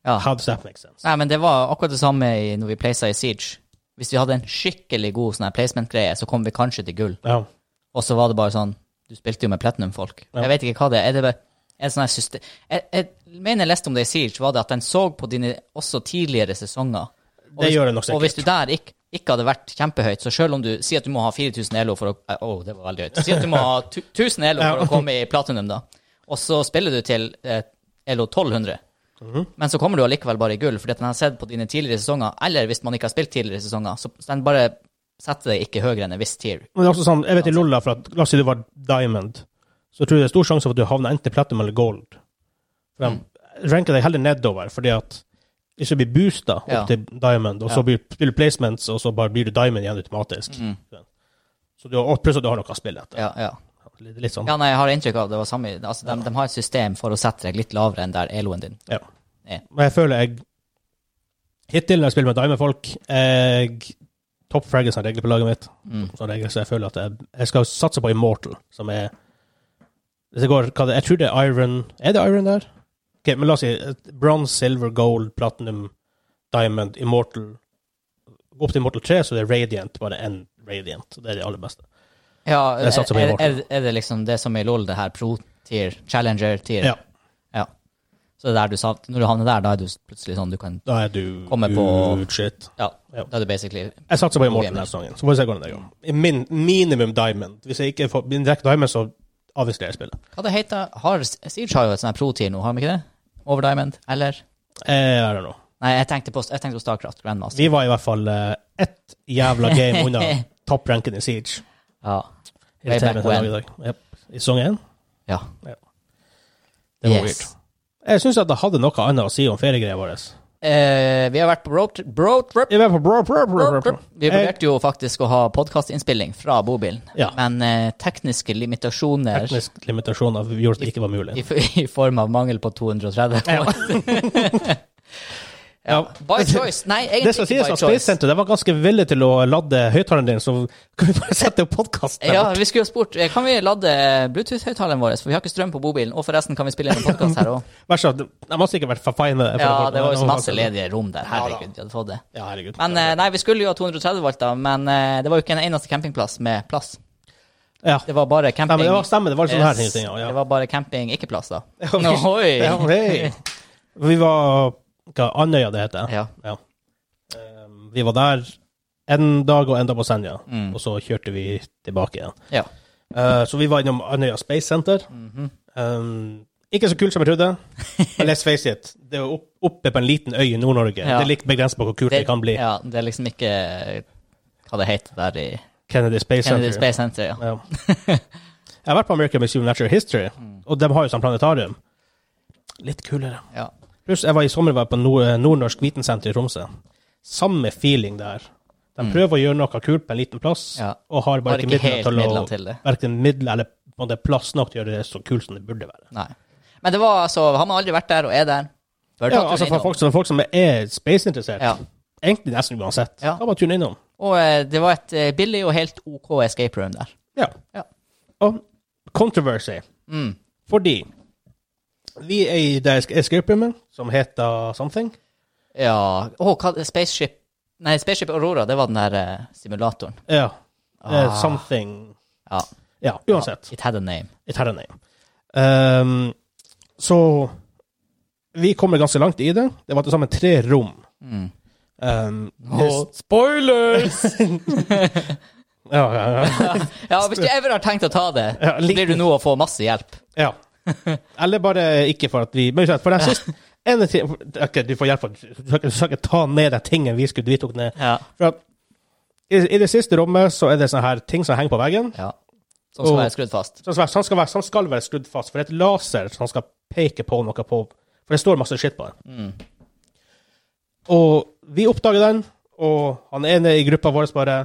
[SPEAKER 2] Ja.
[SPEAKER 1] How does that make sense?
[SPEAKER 2] Nei, men det var akkurat det samme i, når vi placet i Siege. Hvis vi hadde en skikkelig god sånn her placement-greie, så kom vi kanskje til gull.
[SPEAKER 1] Ja.
[SPEAKER 2] Og så var det bare sånn Du spilte jo med platinum-folk.
[SPEAKER 1] Ja.
[SPEAKER 2] Jeg vet ikke hva det er. Er det bare er det sånn her system... Jeg, jeg mener jeg leste om det i Siege, var det at den så på dine også tidligere sesonger. Og
[SPEAKER 1] Det
[SPEAKER 2] hvis-
[SPEAKER 1] gjør det nok
[SPEAKER 2] Og hvis
[SPEAKER 1] sikkert.
[SPEAKER 2] du der ikke, ikke hadde vært kjempehøyt, så selv om du sier at du må ha 4000 elo for å eh, Å, det var veldig høyt. Si at du må ha tu- 1000 elo for å komme i platinum, da. Og så spiller du til eh, elo 1200.
[SPEAKER 1] Mhm.
[SPEAKER 2] Men så kommer du allikevel bare i gull, fordi at den har sett på dine tidligere sesonger, eller hvis man ikke har spilt tidligere sesonger, så så den bare setter deg ikke høyere enn en viss tier.
[SPEAKER 1] Men det er også sånn, jeg vet i Lolla, for at, la oss si du var diamond, så tror jeg det er stor sjanse for at du havner enten i platinum eller gold. For
[SPEAKER 2] Mm.
[SPEAKER 1] de ranker deg heller nedover, fordi at hvis du blir boosta opp
[SPEAKER 2] Ja.
[SPEAKER 1] til diamond, og
[SPEAKER 2] Ja. Mm.
[SPEAKER 1] så blir blir du placements, og så bare blir du diamond igjen automatisk. Så du har, og pluss at du har noe å spille etter.
[SPEAKER 2] Ja, ja.
[SPEAKER 1] Litt, litt sånn.
[SPEAKER 2] ja nei, jeg har inntrykk av det var samme altså, de, de har et system for å sette deg litt lavere enn der eloen din.
[SPEAKER 1] Ja.
[SPEAKER 2] Ja.
[SPEAKER 1] Men jeg føler jeg Hittil når jeg spiller med Diamond-folk Jeg toppfragger som regel på laget mitt.
[SPEAKER 2] Mm.
[SPEAKER 1] Som regel, så jeg føler at jeg, jeg skal satse på Immortal, som er Hvis jeg går hva det, Jeg tror det er Iron Er det Iron der? Ok, men la oss si bronse, silver, gold, platinum, diamond, immortal Gå opp til Immortal 3, så det er Radiant, bare én Radiant. Det er det aller beste.
[SPEAKER 2] Ja,
[SPEAKER 1] Jeg
[SPEAKER 2] er,
[SPEAKER 1] satser på
[SPEAKER 2] er,
[SPEAKER 1] Immortal.
[SPEAKER 2] er, er det liksom det som i LOL, det her pro-tier, challenger-tier?
[SPEAKER 1] Ja.
[SPEAKER 2] Så det er der du satt, når du havner der, da er du plutselig sånn du kan
[SPEAKER 1] Da er du
[SPEAKER 2] Kommer på-
[SPEAKER 1] good shit.
[SPEAKER 2] Ja,
[SPEAKER 1] Ja.
[SPEAKER 2] da er du basically
[SPEAKER 1] Jeg satser på Immortal
[SPEAKER 2] Gamer.
[SPEAKER 1] denne sesongen. Så får vi se hvordan det går. Min, minimum Diamond. Hvis jeg ikke får min direkte Diamond, så avviser jeg spillet.
[SPEAKER 2] Hva det heter har, Siege har jo et sånn her pro-tier nå, har de ikke det? Over Diamond, eller?
[SPEAKER 1] Eh, I don't know.
[SPEAKER 2] Nei, jeg tenkte på, jeg tenkte på Starcraft Grandmaster.
[SPEAKER 1] Vi var i hvert fall eh, ett jævla game unna toppranken i Siege.
[SPEAKER 2] Ja. Way
[SPEAKER 1] Irriterende
[SPEAKER 2] back
[SPEAKER 1] dag
[SPEAKER 2] when.
[SPEAKER 1] i dag. Jep. I sesong én.
[SPEAKER 2] ja.
[SPEAKER 1] Det var
[SPEAKER 2] Yes.
[SPEAKER 1] weird. Jeg syns at det hadde noe annet å si om feriegreia vår.
[SPEAKER 2] Eh, vi har vært på road, road trip.
[SPEAKER 1] Jeg var på brr, brr, brr,
[SPEAKER 2] Road
[SPEAKER 1] brr.
[SPEAKER 2] trip. Vi vurderte jo faktisk å ha podkastinnspilling fra bobilen,
[SPEAKER 1] Ja.
[SPEAKER 2] men eh, tekniske limitasjoner
[SPEAKER 1] Teknisk limitasjon av- gjorde at det ikke var
[SPEAKER 2] i,
[SPEAKER 1] mulig.
[SPEAKER 2] i form av mangel på 230 ja. By choice. Nei,
[SPEAKER 1] Det skal
[SPEAKER 2] egentlig
[SPEAKER 1] sies
[SPEAKER 2] ikke
[SPEAKER 1] at
[SPEAKER 2] by
[SPEAKER 1] Space
[SPEAKER 2] choice.
[SPEAKER 1] Center de var ganske villig til å lade høyttaleren din, så kan vi bare sette opp podkast der?
[SPEAKER 2] Ja, vi skulle jo spurt eh, Kan vi lade Bluetooth-høyttaleren vår, for vi har ikke strøm på bobilen. Og forresten kan vi spille inn en podkast her òg.
[SPEAKER 1] Vær så snill, de har sikkert vært for fine med det. for
[SPEAKER 2] Ja,
[SPEAKER 1] folk-
[SPEAKER 2] det var jo så
[SPEAKER 1] folk-
[SPEAKER 2] masse ledige rom der. Herregud, vi hadde fått det.
[SPEAKER 1] Ja, herregud.
[SPEAKER 2] Men eh, nei, vi skulle jo ha 230 volt, da, men eh, det var jo ikke en eneste campingplass med plass.
[SPEAKER 1] ja.
[SPEAKER 2] Det var bare
[SPEAKER 1] Nei,
[SPEAKER 2] camping
[SPEAKER 1] men det var stemmer, det var sånne her
[SPEAKER 2] Yes.
[SPEAKER 1] ting. Ja.
[SPEAKER 2] Det
[SPEAKER 1] Ja.
[SPEAKER 2] var bare camping, ikke plass, da.
[SPEAKER 1] ok.
[SPEAKER 2] Oi!
[SPEAKER 1] Ja, hei. Vi var Hva Andøya det heter?
[SPEAKER 2] Ja.
[SPEAKER 1] Um, Vi var der en dag og enda på Senja,
[SPEAKER 2] Mm.
[SPEAKER 1] og så kjørte vi tilbake igjen.
[SPEAKER 2] ja.
[SPEAKER 1] Eh, så vi var innom Andøya Space Center.
[SPEAKER 2] Mhm.
[SPEAKER 1] um, ikke så kult som jeg trodde, men let's face it, det er jo opp, oppe på en liten øy i Nord-Norge.
[SPEAKER 2] Ja.
[SPEAKER 1] Det er litt begrenset på hvor kult det, kan bli.
[SPEAKER 2] Ja, det er liksom ikke hva det heter der i
[SPEAKER 1] Kennedy Space
[SPEAKER 2] Kennedy
[SPEAKER 1] Center.
[SPEAKER 2] Space Center. ja.
[SPEAKER 1] Ja. Jeg har vært på American Museum of Natural History,
[SPEAKER 2] Mm.
[SPEAKER 1] og de har jo sånn planetarium. Litt kulere.
[SPEAKER 2] ja.
[SPEAKER 1] Pluss, jeg var i sommer var jeg på Nord- eh, Nordnorsk Vitensenter i Tromsø. Samme feeling der. De prøver å gjøre noe kult på en liten plass,
[SPEAKER 2] Mm. Ja.
[SPEAKER 1] og har
[SPEAKER 2] Har
[SPEAKER 1] bare
[SPEAKER 2] ikke
[SPEAKER 1] ikke midler
[SPEAKER 2] helt
[SPEAKER 1] til å
[SPEAKER 2] midler til det.
[SPEAKER 1] Verken midler eller på en måte plass nok til å gjøre det så kult som det burde være.
[SPEAKER 2] Nei. Men det var altså Har man aldri vært der og er der? Bør
[SPEAKER 1] Ja,
[SPEAKER 2] ta turen
[SPEAKER 1] altså for
[SPEAKER 2] innom.
[SPEAKER 1] folk, som- folk som er space-interessert,
[SPEAKER 2] Ja.
[SPEAKER 1] egentlig nesten uansett,
[SPEAKER 2] Ja.
[SPEAKER 1] da bare tune innom.
[SPEAKER 2] Og eh, det var et eh, billig og helt OK escape room der.
[SPEAKER 1] Ja.
[SPEAKER 2] Ja.
[SPEAKER 1] Og controversy.
[SPEAKER 2] Mm.
[SPEAKER 1] Fordi vi er i det es- escape roomet som heter Something.
[SPEAKER 2] Ja Å, hva Spaceship Nei, Spaceship Aurora, det var den der eh, simulatoren.
[SPEAKER 1] Ja. Eh,
[SPEAKER 2] Ah.
[SPEAKER 1] Something
[SPEAKER 2] Ja.
[SPEAKER 1] Ja, uansett.
[SPEAKER 2] It had a name.
[SPEAKER 1] It had a name. Ehm, så vi kommer ganske langt i det. Det var til sammen tre rom.
[SPEAKER 2] Mm.
[SPEAKER 1] Ehm,
[SPEAKER 2] Og spoilers!
[SPEAKER 1] ja, ja, ja.
[SPEAKER 2] ja, hvis du ever har tenkt å ta det,
[SPEAKER 1] Ja,
[SPEAKER 2] så
[SPEAKER 1] litt-
[SPEAKER 2] blir du nå å få masse hjelp.
[SPEAKER 1] Ja. Eller bare ikke for at vi Men for det er sist ene ting Ok, du får hjelp. av- Du skal ikke- du skal ikke ta ned den tingen vi skulle vi tok ned.
[SPEAKER 2] Ja.
[SPEAKER 1] For at i, I det siste rommet så er det sånne her ting som henger på veggen.
[SPEAKER 2] ja. Sånn skal
[SPEAKER 1] Og-
[SPEAKER 2] være skrudd fast.
[SPEAKER 1] Som skal, være- som skal, være, som skal være skrudd fast, for det er et laser som skal peke på noe på For det står masse skitt på den.
[SPEAKER 2] Mm.
[SPEAKER 1] Og vi oppdager den, og han ene i gruppa vår bare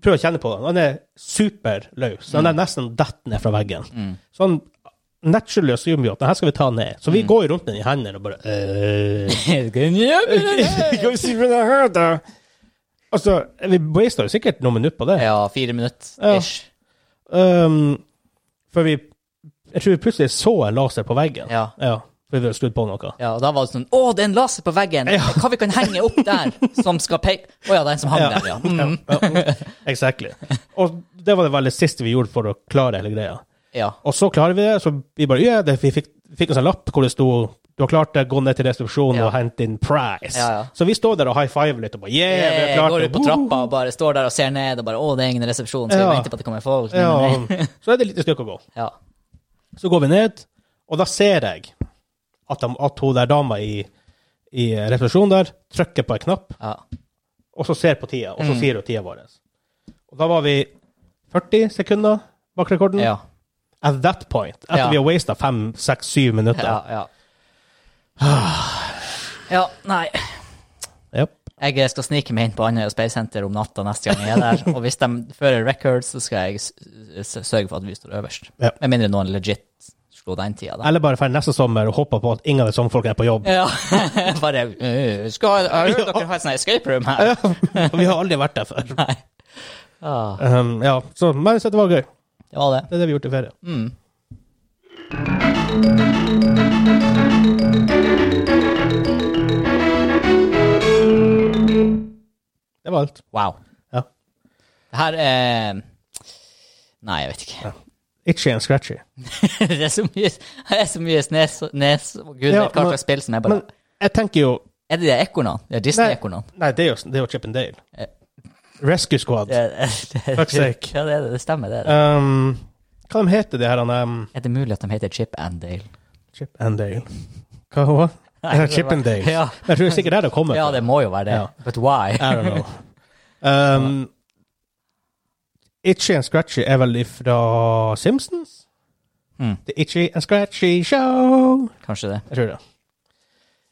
[SPEAKER 1] prøver å kjenne på den. Han er superløs. Han er nesten dett ned fra veggen. Så han naturally assumer jo at den her skal vi ta ned. Så vi går jo rundt den i hendene og bare øh. Hva sier vi det her, da? Altså, vi wasta jo sikkert noen minutter på det.
[SPEAKER 2] ja, fire minutter ish.
[SPEAKER 1] Um, for vi Jeg tror vi plutselig så en laser på veggen.
[SPEAKER 2] Ja.
[SPEAKER 1] for vi hadde skrudd på noe.
[SPEAKER 2] Ja, og da var det sånn Å, det er en laser på veggen! Hva vi kan henge opp der, som skal peke Å ja, den som hang der, ja. Mm.
[SPEAKER 1] Exactly. Og det var det veldig siste vi gjorde for å klare hele greia.
[SPEAKER 2] ja.
[SPEAKER 1] Og så klarer vi det, så vi bare ja, det, Vi fikk, fikk en sånn lapp hvor det sto du har klart det, gå ned til resepsjonen
[SPEAKER 2] Ja.
[SPEAKER 1] og hent inn prize.
[SPEAKER 2] Ja, ja.
[SPEAKER 1] Så vi står der og high five litt og bare yeah, vi har
[SPEAKER 2] Jeg
[SPEAKER 1] klart
[SPEAKER 2] går
[SPEAKER 1] det.
[SPEAKER 2] ut på trappa og bare står der og ser ned og bare Å, det er ingen resepsjon, så vi
[SPEAKER 1] Ja.
[SPEAKER 2] venter på at det kommer folk. Nei, nei, nei.
[SPEAKER 1] Ja, så er det et lite stykke å gå.
[SPEAKER 2] Ja.
[SPEAKER 1] Så går vi ned, og da ser jeg at, de, at hun der dama i, i resepsjonen der trykker på en knapp,
[SPEAKER 2] Ja.
[SPEAKER 1] og så ser på tida, og så
[SPEAKER 2] Mm.
[SPEAKER 1] sier hun tida vår. Og da var vi 40 sekunder bak rekorden.
[SPEAKER 2] Ja.
[SPEAKER 1] At that point, etter
[SPEAKER 2] Ja.
[SPEAKER 1] vi har wasta fem, seks, syv minutter.
[SPEAKER 2] Ja. ja. ja nei.
[SPEAKER 1] Yep.
[SPEAKER 2] Jeg skal snike meg inn på Andøya Space Center om natta neste gang jeg er der. Og hvis de fører records, så skal jeg s- s- sørge for at vi står øverst.
[SPEAKER 1] Ja.
[SPEAKER 2] Med mindre noen legit slo den tida, da.
[SPEAKER 1] Eller bare for neste sommer og håpe på at ingen av de samme folkene er på jobb.
[SPEAKER 2] Ja. Bare øh, skal, ha- Har hørt dere har et sånt escape room her?
[SPEAKER 1] Og vi har aldri vært der før.
[SPEAKER 2] Ah,
[SPEAKER 1] Um, ja, så, men så det var gøy.
[SPEAKER 2] det var det.
[SPEAKER 1] Det er det vi gjorde i ferie.
[SPEAKER 2] Mm.
[SPEAKER 1] Det var alt.
[SPEAKER 2] Wow.
[SPEAKER 1] Ja.
[SPEAKER 2] Det her er Nei, jeg vet ikke.
[SPEAKER 1] Itchy and scratchy.
[SPEAKER 2] det er så mye, det er så mye snes, nes og gud
[SPEAKER 1] Ja,
[SPEAKER 2] vet hva
[SPEAKER 1] men-
[SPEAKER 2] slags spill som er bare
[SPEAKER 1] Men jeg tenker jo
[SPEAKER 2] Er det de ekornene? Det er Disney-ekornene.
[SPEAKER 1] Nei, det er jo, det er jo Chip and Dale.
[SPEAKER 2] Eh.
[SPEAKER 1] Rescue Squad.
[SPEAKER 2] Det er-
[SPEAKER 1] Fuck's sake.
[SPEAKER 2] Ja, det, er det. det stemmer, det. er det.
[SPEAKER 1] Um, hva de heter de her han, um,
[SPEAKER 2] Er det mulig at de heter Chip and Dale?
[SPEAKER 1] Chip and Dale. Hva hva?
[SPEAKER 2] Nei, det
[SPEAKER 1] Chip
[SPEAKER 2] var-
[SPEAKER 1] and Dale.
[SPEAKER 2] Ja.
[SPEAKER 1] Men Jeg tror sikkert det er det kommer
[SPEAKER 2] Ja, det må jo være det.
[SPEAKER 1] Ja.
[SPEAKER 2] But why?
[SPEAKER 1] I don't know. Um, itchy and Scratchy er vel ifra Simpsons?
[SPEAKER 2] Mm.
[SPEAKER 1] The Itchy and Scratchy Show.
[SPEAKER 2] Kanskje det.
[SPEAKER 1] Jeg tror det.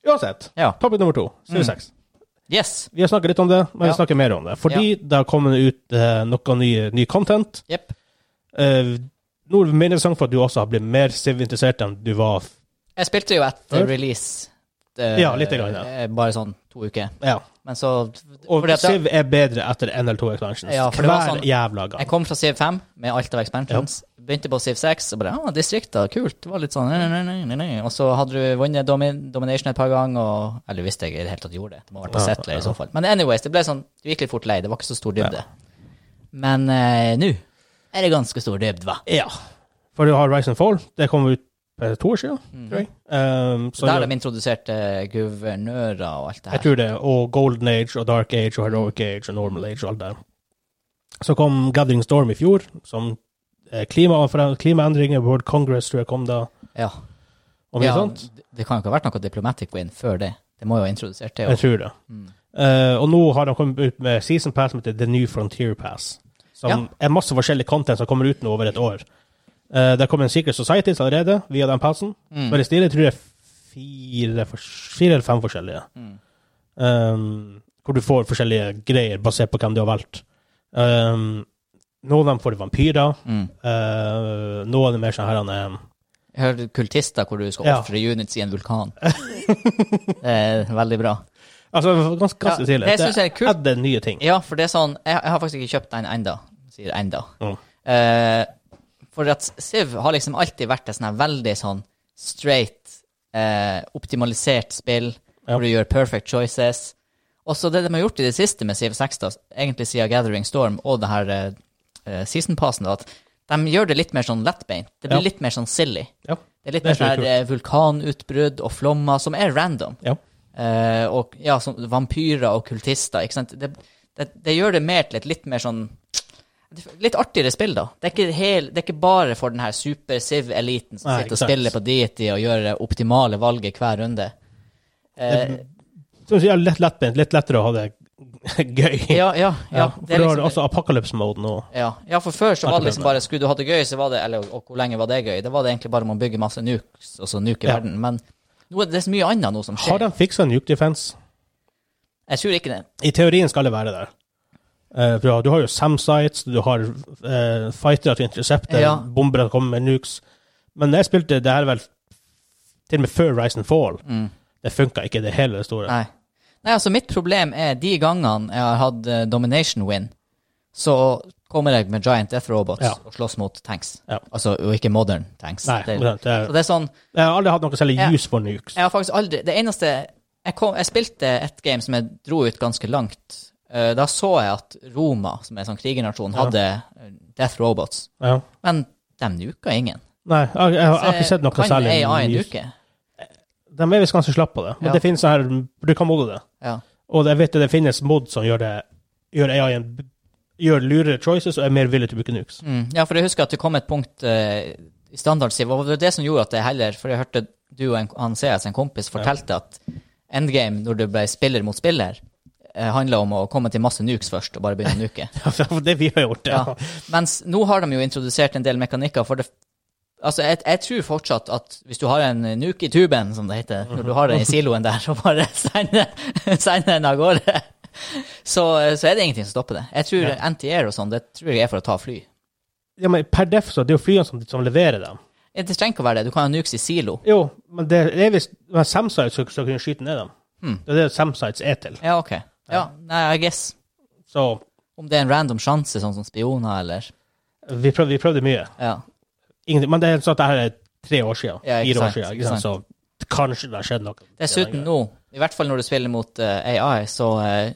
[SPEAKER 1] Uansett.
[SPEAKER 2] Ja.
[SPEAKER 1] Topic nummer to. Suicide.
[SPEAKER 2] Yes.
[SPEAKER 1] Vi har snakket litt om det, men
[SPEAKER 2] Mm. Ja.
[SPEAKER 1] vi snakker mer om det. Fordi det har kommet ut eh, noe ny, ny content.
[SPEAKER 2] Jepp.
[SPEAKER 1] Eh, Noe mer interessant for at du også har blitt mer Civ-interessert enn du var f-
[SPEAKER 2] Jeg spilte jo etter
[SPEAKER 1] Før?
[SPEAKER 2] release. eh,
[SPEAKER 1] Ja, lite grann, ja.
[SPEAKER 2] eh, Bare sånn to uker.
[SPEAKER 1] Ja.
[SPEAKER 2] Men så
[SPEAKER 1] Og
[SPEAKER 2] fordi at jeg,
[SPEAKER 1] Civ er bedre etter NL2 Expansions.
[SPEAKER 2] Ja, for det var
[SPEAKER 1] Hver
[SPEAKER 2] sånn-
[SPEAKER 1] jævla gang.
[SPEAKER 2] jeg kom fra Siv 5 med alt av expansions. Begynte på Siv 6 og bare Ja, distrikter, kult. Det var litt sånn nei, nei, nei, nei, nei. Og så hadde du vunnet domi Domination et par ganger, og Eller hvis jeg i det hele tatt gjorde det. Det må ha vært på
[SPEAKER 1] Ja,
[SPEAKER 2] Settler i så fall. Men anyways, det ble sånn Du gikk litt fort lei. Det var ikke så stor dybde. Men eh, nå er det ganske stor dybde, hva?
[SPEAKER 1] Ja. For du har Rise and Fall. Det kom ut for to år siden,
[SPEAKER 2] Mm.
[SPEAKER 1] tror jeg. Um, så
[SPEAKER 2] Der de introduserte guvernører og alt
[SPEAKER 1] jeg
[SPEAKER 2] det her.
[SPEAKER 1] tror det. Og Golden Age og Dark Age og Heroic Age og Normal Age og alt det der. Så kom Gathering Storm i fjor, som eh, klima, fra- klimaendringer, World Congress tror jeg kom da,
[SPEAKER 2] Ja.
[SPEAKER 1] og mye
[SPEAKER 2] ja,
[SPEAKER 1] sånt.
[SPEAKER 2] det- Det kan jo ikke ha vært noe diplomatic win før det. Det må jo ha introdusert
[SPEAKER 1] Jeg
[SPEAKER 2] det. også.
[SPEAKER 1] tror det.
[SPEAKER 2] Mm.
[SPEAKER 1] Eh, og nå har de kommet ut med Season Pass som heter The New Frontier Pass. Som
[SPEAKER 2] Ja.
[SPEAKER 1] er masse forskjellig content som kommer ut nå over et år. Eh, det kommer en Secret Societies allerede via den passen.
[SPEAKER 2] Mm.
[SPEAKER 1] Bare stille, tror jeg fire, fors- fire eller fem forskjellige.
[SPEAKER 2] Mm.
[SPEAKER 1] Um, hvor du får forskjellige greier basert på hvem du har valgt. Um, noen av dem får vampyrer.
[SPEAKER 2] Mm.
[SPEAKER 1] eh, noen av dem er sånn her han er-
[SPEAKER 2] Jeg hørte kultister hvor du skal
[SPEAKER 1] Ja.
[SPEAKER 2] ofre units i en vulkan. eh, veldig bra.
[SPEAKER 1] Altså, ganske, ganske
[SPEAKER 2] Ja,
[SPEAKER 1] tidlig.
[SPEAKER 2] det synes jeg er kult.
[SPEAKER 1] Det er nye ting.
[SPEAKER 2] Ja, for det er sånn Jeg, jeg har faktisk ikke kjøpt den enda, sier enda.
[SPEAKER 1] Mm.
[SPEAKER 2] Eh, for at Siv har liksom alltid vært et sånn her veldig sånn straight, eh, optimalisert spill,
[SPEAKER 1] Ja.
[SPEAKER 2] hvor du gjør perfect choices. Og så det de har gjort i det siste med Siv 6, da, egentlig siden Gathering Storm og det her eh, eh, season passen, da, at de gjør det litt mer sånn lettbeint. Det blir
[SPEAKER 1] Ja.
[SPEAKER 2] litt mer sånn silly.
[SPEAKER 1] Ja.
[SPEAKER 2] Det er litt
[SPEAKER 1] Det
[SPEAKER 2] mer
[SPEAKER 1] tror
[SPEAKER 2] sånn
[SPEAKER 1] jeg
[SPEAKER 2] her eh, vulkanutbrudd og flommer, som er random.
[SPEAKER 1] Ja.
[SPEAKER 2] Eh, og ja, som vampyrer og kultister, ikke sant. Det, det, det gjør det mer til et litt mer sånn Litt artigere spill, da. Det er ikke, hel, det er ikke bare for den her super-Siv-eliten som
[SPEAKER 1] Nei,
[SPEAKER 2] sitter og
[SPEAKER 1] ikke sant.
[SPEAKER 2] spiller på deity og gjør det optimale valget hver runde. Eh,
[SPEAKER 1] Så jeg er litt lettbent, litt lettere å ha det gøy.
[SPEAKER 2] ja, ja, ja.
[SPEAKER 1] Ja, for
[SPEAKER 2] Det er
[SPEAKER 1] da har du
[SPEAKER 2] liksom,
[SPEAKER 1] også apocalypse-mode nå.
[SPEAKER 2] ja. ja, for før så var
[SPEAKER 1] Akkurat
[SPEAKER 2] det liksom
[SPEAKER 1] det.
[SPEAKER 2] bare skulle du ha det gøy, så var det Eller og hvor lenge var det gøy? Det var det egentlig bare man bygger masse nukes, og så nuker
[SPEAKER 1] Ja.
[SPEAKER 2] verden. Men nå er det så mye annet nå som
[SPEAKER 1] Har
[SPEAKER 2] skjer.
[SPEAKER 1] de fiksa nuke defense?
[SPEAKER 2] Jeg tror ikke det.
[SPEAKER 1] I teorien skal det være der. Eh, for du har jo SAM-sites, du har eh, fightere til intercepter,
[SPEAKER 2] Ja.
[SPEAKER 1] bombere som kommer med nukes. Men jeg spilte det her vel til og med før Rise and Fall.
[SPEAKER 2] Mm.
[SPEAKER 1] Det funka ikke i det hele det store.
[SPEAKER 2] Nei. Nei, altså mitt problem er de gangene jeg har hatt eh, domination win, så kommer jeg med giant death robots
[SPEAKER 1] Ja.
[SPEAKER 2] og slåss mot tanks.
[SPEAKER 1] Ja.
[SPEAKER 2] Altså, og ikke modern tanks.
[SPEAKER 1] Nei,
[SPEAKER 2] det,
[SPEAKER 1] det,
[SPEAKER 2] så det er sånn,
[SPEAKER 1] jeg har aldri hatt noe særlig
[SPEAKER 2] Ja.
[SPEAKER 1] use for nukes.
[SPEAKER 2] jeg har faktisk aldri, det eneste, jeg, kom, jeg spilte et game som jeg dro ut ganske langt, Eh, da så jeg at Roma, som er en sånn krigernasjon,
[SPEAKER 1] Ja.
[SPEAKER 2] hadde eh, death robots,
[SPEAKER 1] Ja.
[SPEAKER 2] men de nuka ingen.
[SPEAKER 1] Nei, jeg, jeg, har- jeg har ikke sett noe
[SPEAKER 2] kan
[SPEAKER 1] særlig
[SPEAKER 2] AI
[SPEAKER 1] use.
[SPEAKER 2] nuke?
[SPEAKER 1] De er visst ganske slappe på det, men
[SPEAKER 2] Ja.
[SPEAKER 1] det finnes sånn her Du kan modde det.
[SPEAKER 2] Ja.
[SPEAKER 1] Og jeg vet det, det finnes mod som gjør det gjør AI en gjør lurere choices og er mer villig til å bruke nukes.
[SPEAKER 2] Mm. Ja, for jeg husker at det kom et punkt eh, i standardsiv, og det var det som gjorde at jeg heller For jeg hørte du og en, han CS, en kompis, fortalte at endgame, når du ble spiller mot spiller, eh, handla om å komme til masse nukes først, og bare begynne å nuke.
[SPEAKER 1] For det vi har gjort, ja.
[SPEAKER 2] Ja. Mens nå har de jo introdusert en del mekanikker, for det Altså, jeg, jeg tror fortsatt at hvis du har en nuke i tuben, som det heter, når du har den i siloen der, og bare sender sender den av gårde, så, eh, så er det ingenting som stopper det. Jeg tror anti-air og sånn, det tror jeg er for å ta fly.
[SPEAKER 1] ja. Men per def så er det jo flyene som, som leverer dem.
[SPEAKER 2] Ja, Det trenger ikke å være det. Du kan ha nukes i silo.
[SPEAKER 1] Jo, men det er visst men Samsites som skal kunne skyte ned dem.
[SPEAKER 2] Hmm.
[SPEAKER 1] Det er det Samsites er til.
[SPEAKER 2] Ja, OK. Ja, nei, I guess.
[SPEAKER 1] Så
[SPEAKER 2] Om det er en random sjanse, sånn som spioner, eller
[SPEAKER 1] vi prøvde, vi prøvde mye.
[SPEAKER 2] Ja.
[SPEAKER 1] Ingenting. Men det er sånn at det her er tre år siden.
[SPEAKER 2] Ja, ikke
[SPEAKER 1] fire
[SPEAKER 2] sant,
[SPEAKER 1] år siden.
[SPEAKER 2] ikke
[SPEAKER 1] Ikke sant? Så kanskje det har skjedd noe.
[SPEAKER 2] Dessuten nå, i hvert fall når du spiller mot eh, AI, så eh,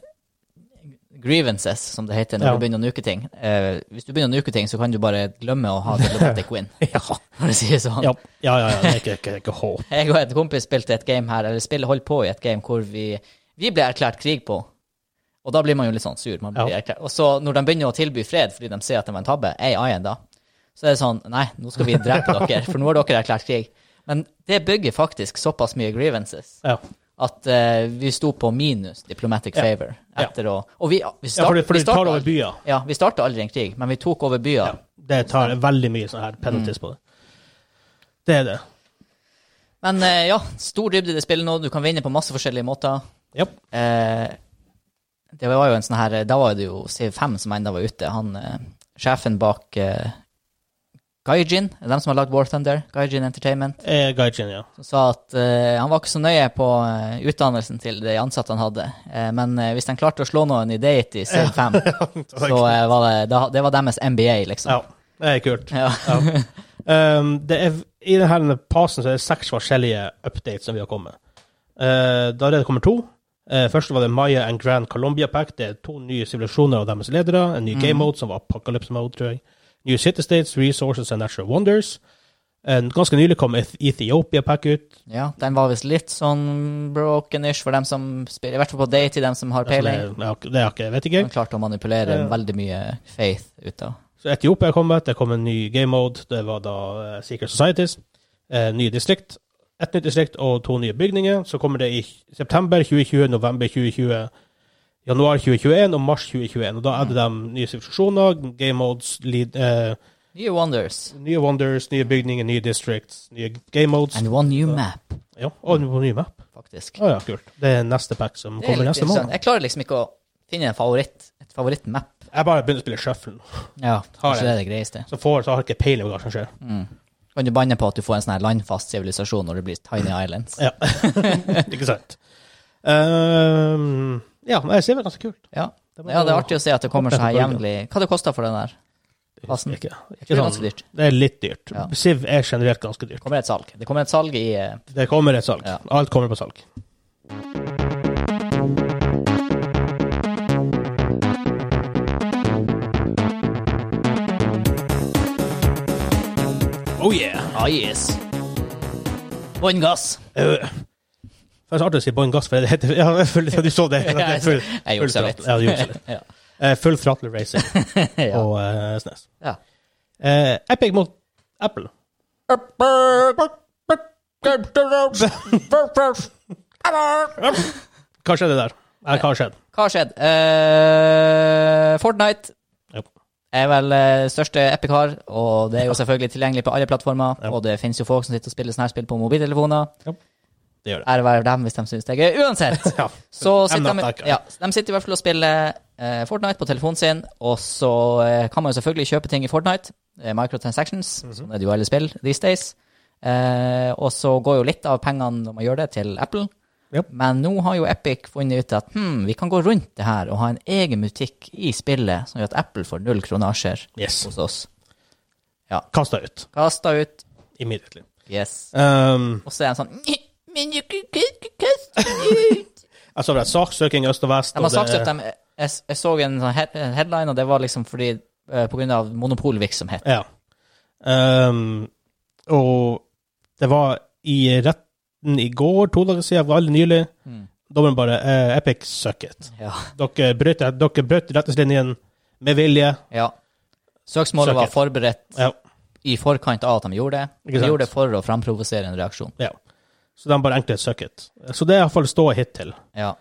[SPEAKER 2] Grievances, som det heter når
[SPEAKER 1] Ja.
[SPEAKER 2] du begynner å nuke ting. eh, hvis du begynner å nuke ting, så kan du bare glemme å ha diplomatic win,
[SPEAKER 1] Ja,
[SPEAKER 2] for å si det sånn.
[SPEAKER 1] ja, ja. ja, ja. Det er ikke, ikke, ikke håp.
[SPEAKER 2] Jeg og en kompis spilte et game her, eller spill, holdt på i et game hvor vi, vi ble erklært krig på. Og da blir man jo litt sånn sur. Man blir
[SPEAKER 1] Ja.
[SPEAKER 2] erklært. Og så når de begynner å tilby fred fordi de ser at det var en tabbe, AI-en da, så er det sånn Nei, nå skal vi drepe dere, for nå har dere erklært krig. Men det bygger faktisk såpass mye grievances
[SPEAKER 1] Ja.
[SPEAKER 2] at eh, vi sto på minus diplomatic
[SPEAKER 1] Ja.
[SPEAKER 2] favor
[SPEAKER 1] Ja.
[SPEAKER 2] etter å Og vi,
[SPEAKER 1] ja
[SPEAKER 2] vi, start,
[SPEAKER 1] for du, for
[SPEAKER 2] vi
[SPEAKER 1] du tar
[SPEAKER 2] starta
[SPEAKER 1] over
[SPEAKER 2] aldri,
[SPEAKER 1] byer.
[SPEAKER 2] ja, vi starta aldri en krig, men vi tok over byer. Hmm.
[SPEAKER 1] Ja, det tar veldig mye sånn her penalties på det. Det er det.
[SPEAKER 2] Men eh, ja, stor dybde i det spillet nå. Du kan vinne på masse forskjellige måter.
[SPEAKER 1] Japp.
[SPEAKER 2] Eh, det var jo en sånn her Da var det jo CV5 som enda var ute. Han eh, sjefen bak eh, Gaijin, dem som har lagd War Thunder, Gaijin Entertainment,
[SPEAKER 1] Eh, Gaijin, ja.
[SPEAKER 2] som sa at eh, han var ikke så nøye på eh, utdannelsen til de ansatte han hadde, eh, men eh, hvis de klarte å slå noen i Deity CV5, så eh, var det, da, det var deres MBA, liksom.
[SPEAKER 1] Ja. Det er kult.
[SPEAKER 2] Ja.
[SPEAKER 1] Ja. Um, det er, I denne pasen så er det seks forskjellige updates som vi har kommet. Uh, da allerede kommer to. Uh, først var det Maya and Grand Colombia Pact. Det er to nye sivilisasjoner og deres ledere. En ny game mode, som var Apocalypse Mode, tror jeg. New City States, Resources and Natural Wonders. En- ganske nylig kom Eth- Ethiopia Pack ut.
[SPEAKER 2] ja, den var visst litt sånn broken-ish for dem som spiller, i hvert fall på Deity, dem som har
[SPEAKER 1] Altså, Det
[SPEAKER 2] peiling.
[SPEAKER 1] er, ja, det er ikke, jeg vet ikke.
[SPEAKER 2] Han klarte å manipulere
[SPEAKER 1] Ja.
[SPEAKER 2] veldig mye faith ut av.
[SPEAKER 1] Så Etiopia er kommet, det kom en ny game mode, det var da eh, Secret Societies, eh, nye distrikt, et nytt distrikt og to nye bygninger. Så kommer det i september 2020, november 2020, januar 2021 og mars 2021. Og da er det de nye sivilisasjoner, game modes, lead, eh,
[SPEAKER 2] New Wonders.
[SPEAKER 1] nye wonders, nye bygninger, nye districts, nye game modes.
[SPEAKER 2] And one new map,
[SPEAKER 1] Ja, og en ny map.
[SPEAKER 2] faktisk.
[SPEAKER 1] Å ja, kult. Det er neste pack som
[SPEAKER 2] Det er
[SPEAKER 1] kommer
[SPEAKER 2] litt
[SPEAKER 1] neste
[SPEAKER 2] interessant.
[SPEAKER 1] måned.
[SPEAKER 2] Jeg klarer liksom ikke å finne en favoritt, et favorittmap.
[SPEAKER 1] Jeg bare begynner å spille shuffle, nå.
[SPEAKER 2] Ja, kanskje
[SPEAKER 1] jeg.
[SPEAKER 2] det er det greieste.
[SPEAKER 1] så, får, så har jeg ikke peiling på hva som skjer.
[SPEAKER 2] Kan du banne på at du får en sånn her landfast sivilisasjon når det blir Tiny Islands?
[SPEAKER 1] Ja, ikke sant. Ehm, ja, nei, jeg ser det ganske kult.
[SPEAKER 2] Ja.
[SPEAKER 1] Det var-
[SPEAKER 2] ja, det er artig å se at det kommer så her
[SPEAKER 1] Håper jeg får
[SPEAKER 2] jevnlig. Hva det koster for den der? Passen.
[SPEAKER 1] Ikke, ikke
[SPEAKER 2] Det er
[SPEAKER 1] sånn-
[SPEAKER 2] ganske dyrt.
[SPEAKER 1] Det er litt dyrt.
[SPEAKER 2] Ja.
[SPEAKER 1] Siv er generelt ganske dyrt.
[SPEAKER 2] Kommer det et salg? Det kommer et salg i eh,
[SPEAKER 1] Det kommer et salg.
[SPEAKER 2] Ja.
[SPEAKER 1] Alt kommer på salg. Oh yeah!
[SPEAKER 2] Ah, yes. Bånn gass.
[SPEAKER 1] Eh, Det er så artig å si bånn gass, for det heter ja, jeg føler- ja, Du så det? det er full,
[SPEAKER 2] Jeg gjorde så
[SPEAKER 1] full
[SPEAKER 2] litt.
[SPEAKER 1] throttle. Ja, du gjorde så litt.
[SPEAKER 2] Ja.
[SPEAKER 1] Eh, full throttle racing
[SPEAKER 2] Ja.
[SPEAKER 1] og eh, SNES.
[SPEAKER 2] Ja.
[SPEAKER 1] Eh, Epic mot Apple. Hva skjedde der? Eh, hva har skjedd?
[SPEAKER 2] Hva har skjedd? Eh, Fortnite
[SPEAKER 1] Japp.
[SPEAKER 2] er vel eh, største Epic har, og det er jo selvfølgelig tilgjengelig på alle plattformer.
[SPEAKER 1] Ja.
[SPEAKER 2] Og det finnes jo folk som sitter og spiller sånne her spill på mobiltelefoner.
[SPEAKER 1] Det gjør det.
[SPEAKER 2] Ære være dem hvis de syns det er gøy. Uansett!
[SPEAKER 1] Ja.
[SPEAKER 2] Så sitter
[SPEAKER 1] not
[SPEAKER 2] de,
[SPEAKER 1] that guy.
[SPEAKER 2] ja, så de sitter i hvert fall og spiller eh, Fortnite på telefonen sin, og så eh, kan man jo selvfølgelig kjøpe ting i Fortnite. eh, microtransactions, sånn er det jo i alle spill these days. Eh, og så går jo litt av pengene når man gjør det, til Apple.
[SPEAKER 1] Japp.
[SPEAKER 2] Men nå har jo Epic funnet ut at hmm, vi kan gå rundt det her og ha en egen butikk i spillet som gjør at Apple får null kronasjer
[SPEAKER 1] Yes.
[SPEAKER 2] hos oss.
[SPEAKER 1] Kasta ut.
[SPEAKER 2] Kasta ut.
[SPEAKER 1] Immediately.
[SPEAKER 2] Yes.
[SPEAKER 1] Um,
[SPEAKER 2] Og så er de sånn Men du kan ikke kaste den ut.
[SPEAKER 1] jeg så det er saksøking i øst og vest.
[SPEAKER 2] De har
[SPEAKER 1] og
[SPEAKER 2] sagt
[SPEAKER 1] det-
[SPEAKER 2] at de, jeg, jeg så en sånn head- en headline, og det var liksom fordi eh, på grunn av monopolvirksomhet.
[SPEAKER 1] Ja. Um, og det var i retten i går, to dager siden, veldig nylig. Dommeren bare eh, Epic suck it.
[SPEAKER 2] Ja.
[SPEAKER 1] Dere brøt, dere brøt retningslinjen med vilje.
[SPEAKER 2] ja. Søksmålet var
[SPEAKER 1] Søket.
[SPEAKER 2] forberedt
[SPEAKER 1] Ja.
[SPEAKER 2] i forkant av at de gjorde det.
[SPEAKER 1] Ikke
[SPEAKER 2] De
[SPEAKER 1] sant.
[SPEAKER 2] gjorde det for å framprovosere en reaksjon.
[SPEAKER 1] ja. Så de bare enkelt suck it. Så det er iallfall ståa hittil.
[SPEAKER 2] Ja.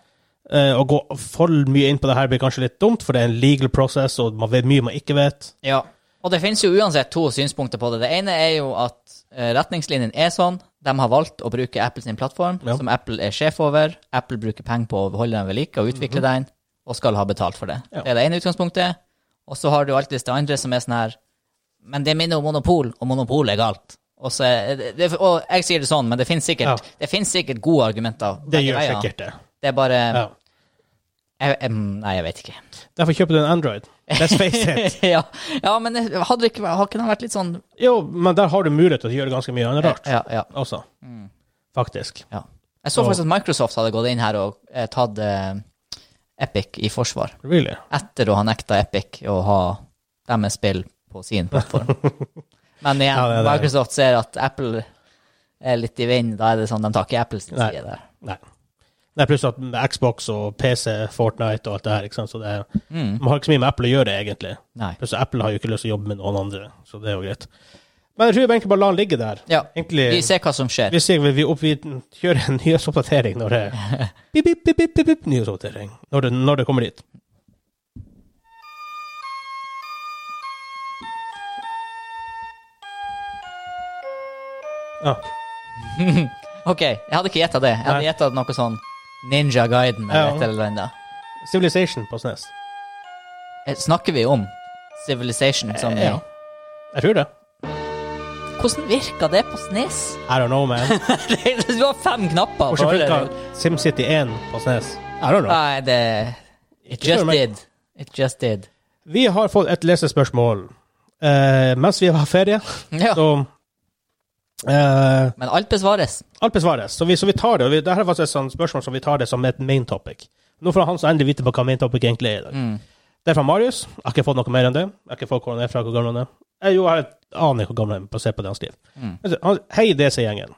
[SPEAKER 1] Eh, å gå for mye inn på det her blir kanskje litt dumt, for det er en legal process, og man vet mye man ikke vet.
[SPEAKER 2] ja. Og det finnes jo uansett to synspunkter på det. Det ene er jo at eh, retningslinjen er sånn. De har valgt å bruke Apple sin plattform,
[SPEAKER 1] Ja.
[SPEAKER 2] som Apple er sjef over. Apple bruker penger på å holde den ved like og utvikle den, og skal ha betalt for det.
[SPEAKER 1] Mhm. Ja.
[SPEAKER 2] Det er det ene utgangspunktet. Og så har du alltid det andre som er sånn her Men det minner om monopol, og monopol er galt. Og, så, er det, det, og jeg sier det sånn, men det finnes sikkert,
[SPEAKER 1] Ja.
[SPEAKER 2] det finnes sikkert gode argumenter.
[SPEAKER 1] Det
[SPEAKER 2] begge
[SPEAKER 1] gjør
[SPEAKER 2] veier.
[SPEAKER 1] sikkert det.
[SPEAKER 2] Det er bare
[SPEAKER 1] Ja.
[SPEAKER 2] jeg, jeg, Nei, jeg vet ikke.
[SPEAKER 1] Derfor kjøper du en Android. Let's face it.
[SPEAKER 2] ja. ja, men eh, hadde det ikke, vært- har ikke den vært litt sånn
[SPEAKER 1] Jo, men der har du mulighet til å gjøre ganske mye annet rart
[SPEAKER 2] Ja, ja,
[SPEAKER 1] også.
[SPEAKER 2] Mm.
[SPEAKER 1] Faktisk.
[SPEAKER 2] ja. Jeg så
[SPEAKER 1] Og-
[SPEAKER 2] faktisk at Microsoft hadde gått inn her og eh, tatt eh, Epic i forsvar.
[SPEAKER 1] Really.
[SPEAKER 2] Etter å ha nekta Epic å ha deres spill på sin plattform. Men igjen,
[SPEAKER 1] Ja, det er det.
[SPEAKER 2] Microsoft ser at Apple er litt i vinden. Da er det sånn, de tar ikke Apples
[SPEAKER 1] Nei.
[SPEAKER 2] side der.
[SPEAKER 1] Nei. Nei, pluss at Xbox og PC, Fortnite og alt det her, ikke sant. Så det er,
[SPEAKER 2] Mm.
[SPEAKER 1] man har ikke så mye med Apple å gjøre, egentlig.
[SPEAKER 2] Nei.
[SPEAKER 1] Pluss at Apple har jo ikke lyst til å jobbe med noen andre, så det er jo greit. Men jeg tror vi egentlig bare lar den ligge der.
[SPEAKER 2] Ja,
[SPEAKER 1] Egentlig,
[SPEAKER 2] vi ser hva som skjer.
[SPEAKER 1] Vi, ser, vi, vi, opp, vi kjører en nyhetsoppdatering når det bip, bip, bip, bip, bip, bip, Nyhetsoppdatering. Når det, når det kommer dit. Ah.
[SPEAKER 2] OK, jeg hadde ikke gjetta det. Jeg hadde
[SPEAKER 1] Nei.
[SPEAKER 2] gjetta noe sånn Ninja Guiden
[SPEAKER 1] Ja.
[SPEAKER 2] eller et eller annet.
[SPEAKER 1] Civilization på E SNES.
[SPEAKER 2] Eh, Snakker vi om Civilization som
[SPEAKER 1] Eh, ja. Jeg tror det.
[SPEAKER 2] Hvordan virka det på E Snes?
[SPEAKER 1] I don't know, man.
[SPEAKER 2] du har fem knapper.
[SPEAKER 1] Hvordan
[SPEAKER 2] på alle.
[SPEAKER 1] funka SimCity 1 på E SNES? I don't know.
[SPEAKER 2] Nei, det It
[SPEAKER 1] Ikke
[SPEAKER 2] just
[SPEAKER 1] spør meg.
[SPEAKER 2] did. It just did.
[SPEAKER 1] Vi har fått et lesespørsmål eh, mens vi har ferie,
[SPEAKER 2] Ja.
[SPEAKER 1] så eh,
[SPEAKER 2] Men alt besvares.
[SPEAKER 1] Alt besvares. Så vi, så vi tar det. og Vi, det her er faktisk et sånt spørsmål som vi tar det som et main topic. Nå får han så endelig vite på hva main topic egentlig er i dag. Det er fra Marius. Jeg har ikke fått noe mer enn det. Jeg har ikke fått hvor han er fra, hvor gammel han er. Jeg, jo, jeg aner ikke hvor gammel han er, basert på det han skriver. Men så- Han, Hei, DC-gjengen.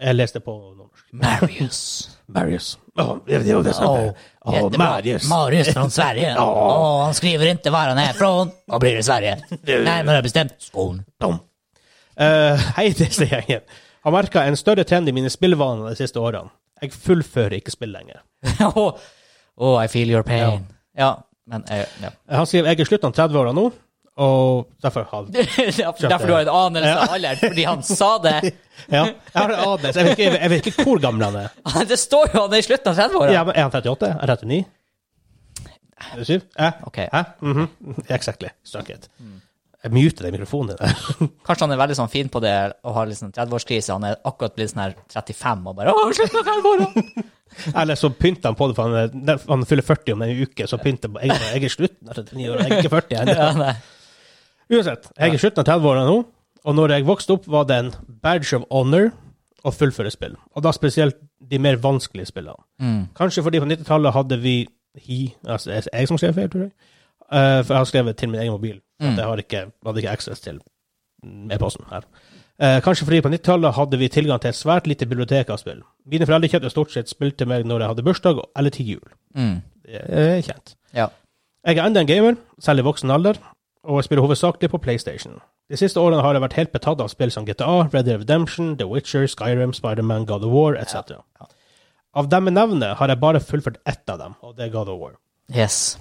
[SPEAKER 1] Jeg leste på nordnorsk.
[SPEAKER 2] Marius.
[SPEAKER 1] Marius. Åh, det det var det som-
[SPEAKER 2] Åh,
[SPEAKER 1] Åh,
[SPEAKER 2] jättebra. Marius från Sverige. Åh, han skriver inte var han är ifrån och blir i Sverige. Nej, men jag har bestämt skon.
[SPEAKER 1] Dom. Eh, hei, DC-gjengen. Har merka en større trend i mine spillvaner de siste årene. Jeg fullfører ikke spill lenger.
[SPEAKER 2] Åh, åh, I feel your pain. Ja, men eh, ja.
[SPEAKER 1] Han skriver jeg er slutten av 30-åra nå, og derfor har
[SPEAKER 2] Derfor derfor du har en anelse av alderen, fordi han sa det.
[SPEAKER 1] Ja, jeg har en anelse. Jeg vet ikke, jeg vet ikke hvor gammel han er.
[SPEAKER 2] Det står jo han er i slutten av 30-åra.
[SPEAKER 1] Ja, men er han 38? Er han 39? Er det syv? Eh?
[SPEAKER 2] Ok.
[SPEAKER 1] Hæ? Mhm. Exactly. Suck it. Jeg muter den mikrofonen der.
[SPEAKER 2] Kanskje han er veldig sånn fin på det og har liksom 30-årskrise. Han er akkurat blitt sånn her 35 og bare åh, slutten av 30-åra!
[SPEAKER 1] Eller så pynter han på det, for han, er- når han fyller 40 om en uke. Så pynter han på jeg, jeg er slutten av 39 år, jeg er ikke 40 ennå.
[SPEAKER 2] Ja, nei.
[SPEAKER 1] Uansett, jeg er i slutten av 30-åra nå, og når jeg vokste opp, var det en badge of honor å fullføre spill, og da spesielt de mer vanskelige spillene.
[SPEAKER 2] Mm.
[SPEAKER 1] Kanskje fordi på 90-tallet hadde vi He, altså jeg, jeg som skrev feil, tror jeg, Eh, for jeg har skrevet til min egen mobil,
[SPEAKER 2] Mm.
[SPEAKER 1] at jeg har ikke, hadde ikke access til e-posten her. Eh, kanskje fordi på 90-tallet hadde vi tilgang til et svært lite bibliotek av spill. Mine foreldre kjøpte stort sett spill til meg når jeg hadde bursdag, eller til jul.
[SPEAKER 2] Mm.
[SPEAKER 1] Det er kjent.
[SPEAKER 2] Ja.
[SPEAKER 1] Jeg er enda en gamer, selv i voksen alder, og jeg spiller hovedsakelig på PlayStation. De siste årene har jeg vært helt betatt av spill som GTA, Red Dead Redemption, The Witcher, Skyrim, Spiderman, God of War etc. Av dem jeg nevner, har jeg bare fullført ett av dem, og det er God of War.
[SPEAKER 2] Yes.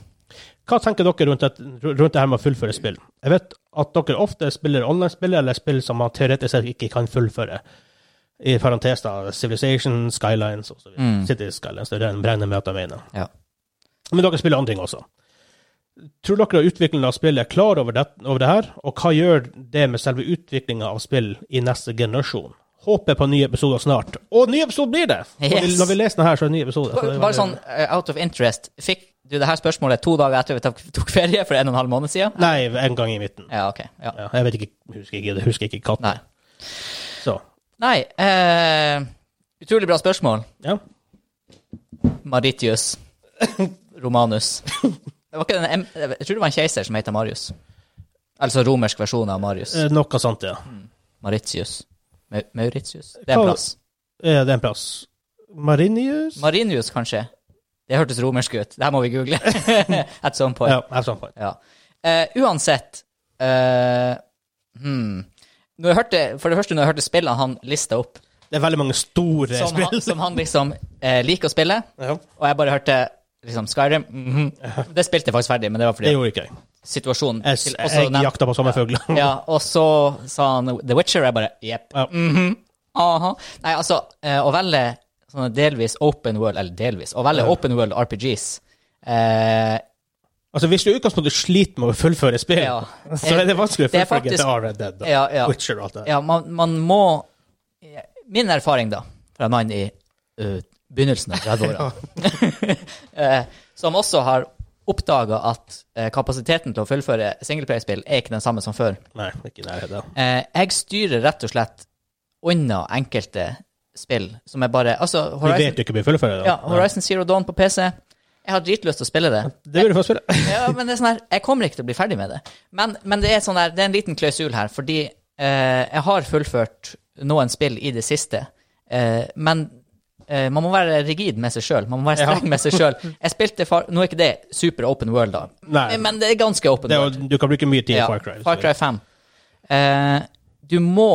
[SPEAKER 1] Hva tenker dere rundt, et, rundt det her med å fullføre spill? Jeg vet at dere ofte spiller online-spill eller spill som man teoretisk sett ikke kan fullføre. I parentes da, Civilization, Skylines osv. Mm. City Skylines, det regner jeg med at jeg mener.
[SPEAKER 2] Ja.
[SPEAKER 1] Men dere spiller andre ting også. Tror dere utviklingen av spillet er klar over det, over det her, og hva gjør det med selve utviklinga av spill i neste generasjon? Håper på nye episoder snart. Og ny episode blir det! Når, vi,
[SPEAKER 2] Yes.
[SPEAKER 1] når vi leser den her, så er det ny episode. Så det er
[SPEAKER 2] Bare sånn eh, out of interest. Fikk du det her spørsmålet to dager etter vi tok, tok ferie for en og en halv måned siden?
[SPEAKER 1] Nei, en gang i midten.
[SPEAKER 2] Ja, ok. Ja.
[SPEAKER 1] Ja, jeg vet ikke, husker ikke, jeg husker ikke katten.
[SPEAKER 2] Nei.
[SPEAKER 1] Så,
[SPEAKER 2] Nei eh, utrolig bra spørsmål,
[SPEAKER 1] ja.
[SPEAKER 2] Maritius Romanus. Det var ikke den, em- jeg tror det var en keiser som heter Marius. Altså romersk versjon av Marius.
[SPEAKER 1] Eh, Noe sånt, ja.
[SPEAKER 2] Maritius. Mau- Mauritius? Det er en
[SPEAKER 1] Hva-
[SPEAKER 2] plass.
[SPEAKER 1] Eh, Det er en plass. Marinius?
[SPEAKER 2] Marinius, kanskje? Det hørtes romersk ut. Det her må vi google. At some point.
[SPEAKER 1] Ja, jeg er sånn på.
[SPEAKER 2] Ja. Eh, uansett eh, hmm. når jeg hørte, For det første, når jeg hørte spillene han lista opp,
[SPEAKER 1] Det er veldig mange store
[SPEAKER 2] som
[SPEAKER 1] spill.
[SPEAKER 2] han, som han liksom eh, liker å spille,
[SPEAKER 1] Ja.
[SPEAKER 2] og jeg bare hørte liksom Skyrim mhm. Det spilte jeg faktisk ferdig, men det var
[SPEAKER 1] Det
[SPEAKER 2] fordi
[SPEAKER 1] gjorde ikke jeg.
[SPEAKER 2] situasjonen
[SPEAKER 1] Jeg,
[SPEAKER 2] til- altså, og så
[SPEAKER 1] jeg
[SPEAKER 2] nevnte-
[SPEAKER 1] jakta på samme fugler.
[SPEAKER 2] Ja, og så sa han The Witcher, og jeg bare jepp.
[SPEAKER 1] Ja.
[SPEAKER 2] Mhm. Aha. Nei, altså, eh, å velge sånne delvis open world, eller delvis, å velge open world RPGs eh,
[SPEAKER 1] Altså, hvis du i utgangspunktet sliter med å fullføre spill,
[SPEAKER 2] Ja.
[SPEAKER 1] så er det vanskelig å
[SPEAKER 2] Det er
[SPEAKER 1] fullføre
[SPEAKER 2] faktisk-
[SPEAKER 1] GTA, Red Dead, da.
[SPEAKER 2] ja, ja.
[SPEAKER 1] Witcher og alt det der.
[SPEAKER 2] Ja, man, man må eh, Min erfaring, da, fra en mann i ø, begynnelsen av 30-åra, eh, som også har oppdaga at eh, kapasiteten til å fullføre singleplayerspill er ikke den samme som før.
[SPEAKER 1] Nei, ikke i nærheten.
[SPEAKER 2] Eh, jeg styrer rett og slett unna enkelte spill som er bare Altså,
[SPEAKER 1] Du vet
[SPEAKER 2] Horizon,
[SPEAKER 1] du ikke blir fullført.
[SPEAKER 2] ja, Horizon Zero Dawn på PC. Jeg har dritlyst til å spille det.
[SPEAKER 1] Det vil du få spille.
[SPEAKER 2] Ja, men det er sånn her, jeg kommer ikke til å bli ferdig med det. Men, men det, er sånn her, det er en liten klausul her, fordi eh, jeg har fullført noen spill i det siste. Eh, men eh, man må være rigid med seg sjøl. Man må være streng med seg sjøl. Jeg spilte far, Nå er ikke det super open world, da,
[SPEAKER 1] Nei.
[SPEAKER 2] men det er ganske open
[SPEAKER 1] Det er,
[SPEAKER 2] world.
[SPEAKER 1] jo- du kan bruke mye tid i
[SPEAKER 2] Ja,
[SPEAKER 1] Far Cry. så-
[SPEAKER 2] 5. Eh, du må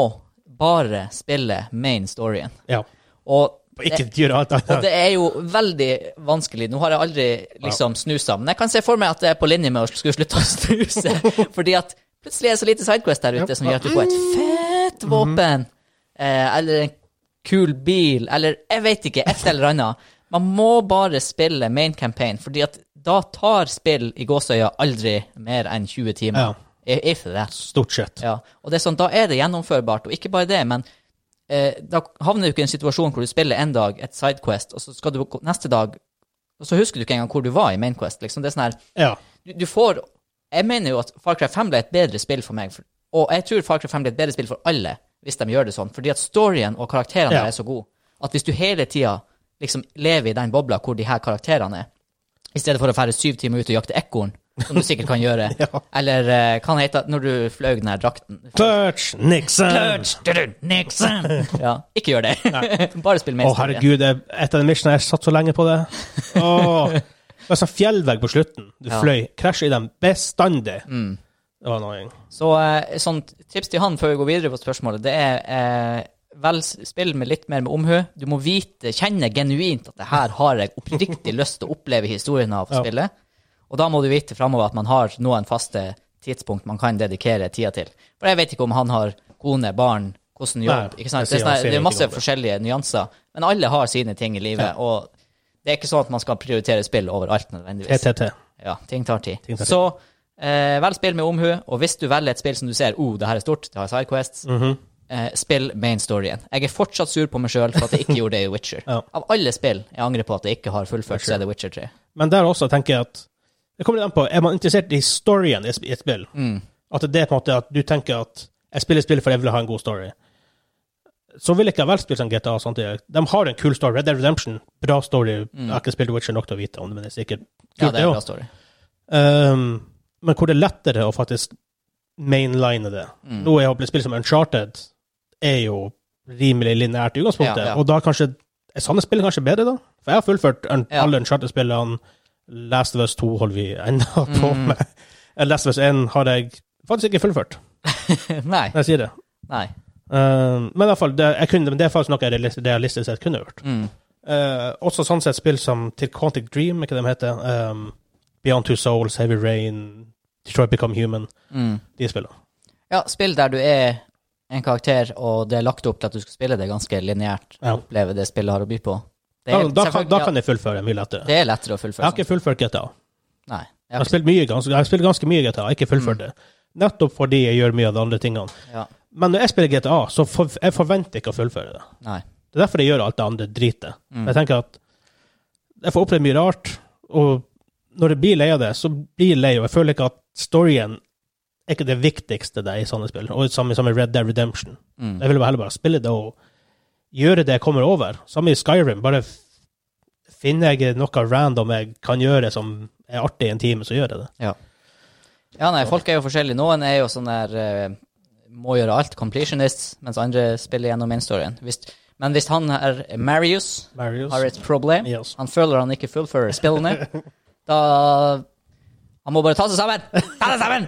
[SPEAKER 2] bare spille main storyen.
[SPEAKER 1] Ja.
[SPEAKER 2] Og
[SPEAKER 1] Ikke gjøre alt
[SPEAKER 2] og
[SPEAKER 1] annet.
[SPEAKER 2] det er jo veldig vanskelig. Nå har jeg aldri liksom snusa, men jeg kan se for meg at det er på linje med å skulle slutte å snuse. Fordi at plutselig er det så lite Sidequest der ute som gjør at du får et fett våpen. Eh, eller en kul bil, eller jeg vet ikke, et eller annet. Man må bare spille main campaign, fordi at da tar spill i gåsøya aldri mer enn 20 timer.
[SPEAKER 1] Ja.
[SPEAKER 2] Er, er ikke det?
[SPEAKER 1] Stort sett.
[SPEAKER 2] Ja, og det er sånn, da er det gjennomførbart. Og ikke bare det, men eh, da havner du ikke i en situasjon hvor du spiller en dag et sidequest, og så skal du gå- neste dag Og så husker du ikke engang hvor du var i mainquest. Liksom. Det er sånn her,
[SPEAKER 1] Ja.
[SPEAKER 2] du, du får Jeg mener jo at Far Cry 5 ble et bedre spill for meg, for, og jeg tror Far Cry 5 ble et bedre spill for alle, hvis de gjør det sånn, fordi at storyen og karakterene
[SPEAKER 1] Ja.
[SPEAKER 2] der er så gode at hvis du hele tida liksom lever i den bobla hvor de her karakterene er, i stedet for å fære syv timer ut og jakte ekorn, som du sikkert kan gjøre, eller eh, hva han heter når du fløy den her drakten
[SPEAKER 1] Clutch Nixon!
[SPEAKER 2] Nixon! ja, ikke gjør det. Bare spill
[SPEAKER 1] Å,
[SPEAKER 2] med historie.
[SPEAKER 1] herregud, det er et av de missionene jeg satt så lenge på det. Åh, det var sånn fjellvegg på slutten. Du
[SPEAKER 2] Ja. Mm.
[SPEAKER 1] fløy. Krasj i dem bestandig. Det var annoying.
[SPEAKER 2] Så eh, sånn tips til han før vi går videre på spørsmålet, det er eh, vel spill med litt mer med omhu. Du må vite, kjenne genuint at det her har jeg oppriktig lyst til å oppleve historien av
[SPEAKER 1] Ja.
[SPEAKER 2] spillet. Og da må du vite framover at man har noen faste tidspunkt man kan dedikere tida til. For jeg vet ikke om han har kone, barn, hvordan jobb.
[SPEAKER 1] Nei,
[SPEAKER 2] ikke sant?
[SPEAKER 1] jeg sier-
[SPEAKER 2] Det, er
[SPEAKER 1] jeg sier
[SPEAKER 2] sånn, det er
[SPEAKER 1] ingenting
[SPEAKER 2] masse
[SPEAKER 1] om det.
[SPEAKER 2] forskjellige nyanser. Men alle har sine ting i livet, og det er ikke sånn at man skal prioritere spill overalt nødvendigvis.
[SPEAKER 1] TTT.
[SPEAKER 2] Ja, ting tar tid.
[SPEAKER 1] Ting tar tid.
[SPEAKER 2] Så eh, velg spill med omhu, og hvis du velger et spill som du ser oh, det her er stort, det har sidequests,
[SPEAKER 1] Mhm.
[SPEAKER 2] eh, spill main storyen. Jeg er fortsatt sur på meg sjøl for at jeg ikke gjorde det i Witcher.
[SPEAKER 1] Ja.
[SPEAKER 2] Av alle spill jeg angrer på at jeg ikke har fullført, så er det Witcher 3.
[SPEAKER 1] Men der også tenker jeg at Det kommer litt an på. Er man interessert i storyen i et sp- i et spill?
[SPEAKER 2] Mm.
[SPEAKER 1] At det er på en måte at du tenker at jeg spiller spill for jeg vil ha en god story. Så vil jeg ikke ha vel sånn spilt som GTA. samtidig. De har en kul story. Red Dead Redemption, bra story. Jeg har ikke spilt Witcher nok til å vite om det, men det er sikkert
[SPEAKER 2] Mm. Ja,
[SPEAKER 1] kult,
[SPEAKER 2] det
[SPEAKER 1] det
[SPEAKER 2] er en
[SPEAKER 1] òg.
[SPEAKER 2] bra story.
[SPEAKER 1] Um, men hvor det er lettere å faktisk mainline det.
[SPEAKER 2] Mm.
[SPEAKER 1] Nå er jo spill som Uncharted er jo rimelig lineært i utgangspunktet,
[SPEAKER 2] Ja, ja.
[SPEAKER 1] og da kanskje er sånne spill kanskje bedre, da? For jeg har fullført un
[SPEAKER 2] Ja.
[SPEAKER 1] alle Uncharted-spillene. Last of Us 2 holder vi ennå på
[SPEAKER 2] Mm.
[SPEAKER 1] med. Eh, Last of Us 1 har jeg faktisk ikke fullført,
[SPEAKER 2] Nei.
[SPEAKER 1] når jeg sier det.
[SPEAKER 2] Nei.
[SPEAKER 1] Um, men i hvert fall, det, jeg kunne, men det er faktisk noe jeg realis- realistisk sett kunne gjort.
[SPEAKER 2] Mm.
[SPEAKER 1] Eh, også sånn sett spill som til Quantic Dream, ikke det de heter. Um, Beyond Two Souls, Heavy Rain, Detroit Become Human.
[SPEAKER 2] Mm.
[SPEAKER 1] De spillene.
[SPEAKER 2] Ja, spill der du er en karakter, og det er lagt opp til at du skal spille det ganske lineært.
[SPEAKER 1] Ja.
[SPEAKER 2] Oppleve det spillet har å by på. Det
[SPEAKER 1] Da, da, kan,
[SPEAKER 2] selvfølgelig-
[SPEAKER 1] da
[SPEAKER 2] ja,
[SPEAKER 1] kan jeg fullføre mye lettere.
[SPEAKER 2] det er lettere å
[SPEAKER 1] Jeg
[SPEAKER 2] fullføre.
[SPEAKER 1] har ikke fullført GTA.
[SPEAKER 2] sånn. Nei.
[SPEAKER 1] Jeg
[SPEAKER 2] Ja,
[SPEAKER 1] har spilt, mye, ganske, jeg har spilt ganske mye GTA, jeg har ikke fullført det. Nettopp fordi jeg gjør mye av de andre tingene.
[SPEAKER 2] ja.
[SPEAKER 1] Men når jeg spiller GTA, så for, jeg forventer ikke å fullføre det.
[SPEAKER 2] Nei.
[SPEAKER 1] Det er derfor jeg gjør alt det andre dritet. Jeg tenker at jeg får oppleve mye rart, og når jeg blir lei av det, så blir jeg lei, og jeg føler ikke at storyen er ikke det viktigste det er i sånne spill, og samme som i Red Dead Redemption.
[SPEAKER 2] Mm.
[SPEAKER 1] Jeg vil bare heller bare spille det og gjøre det jeg kommer over. Samme i Skyrim, bare f- finner jeg noe random jeg kan gjøre som er artig i en time, så gjør jeg det.
[SPEAKER 2] Ja, nei, folk er jo forskjellige. Noen er jo sånn der eh, må gjøre alt, completionists, mens andre spiller gjennom main storyen. Hvis, men hvis han er Marius,
[SPEAKER 1] Marius.
[SPEAKER 2] har et problem,
[SPEAKER 1] Yes.
[SPEAKER 2] han føler han ikke fullfører spillene, da Han må bare ta seg sammen! Ta deg sammen!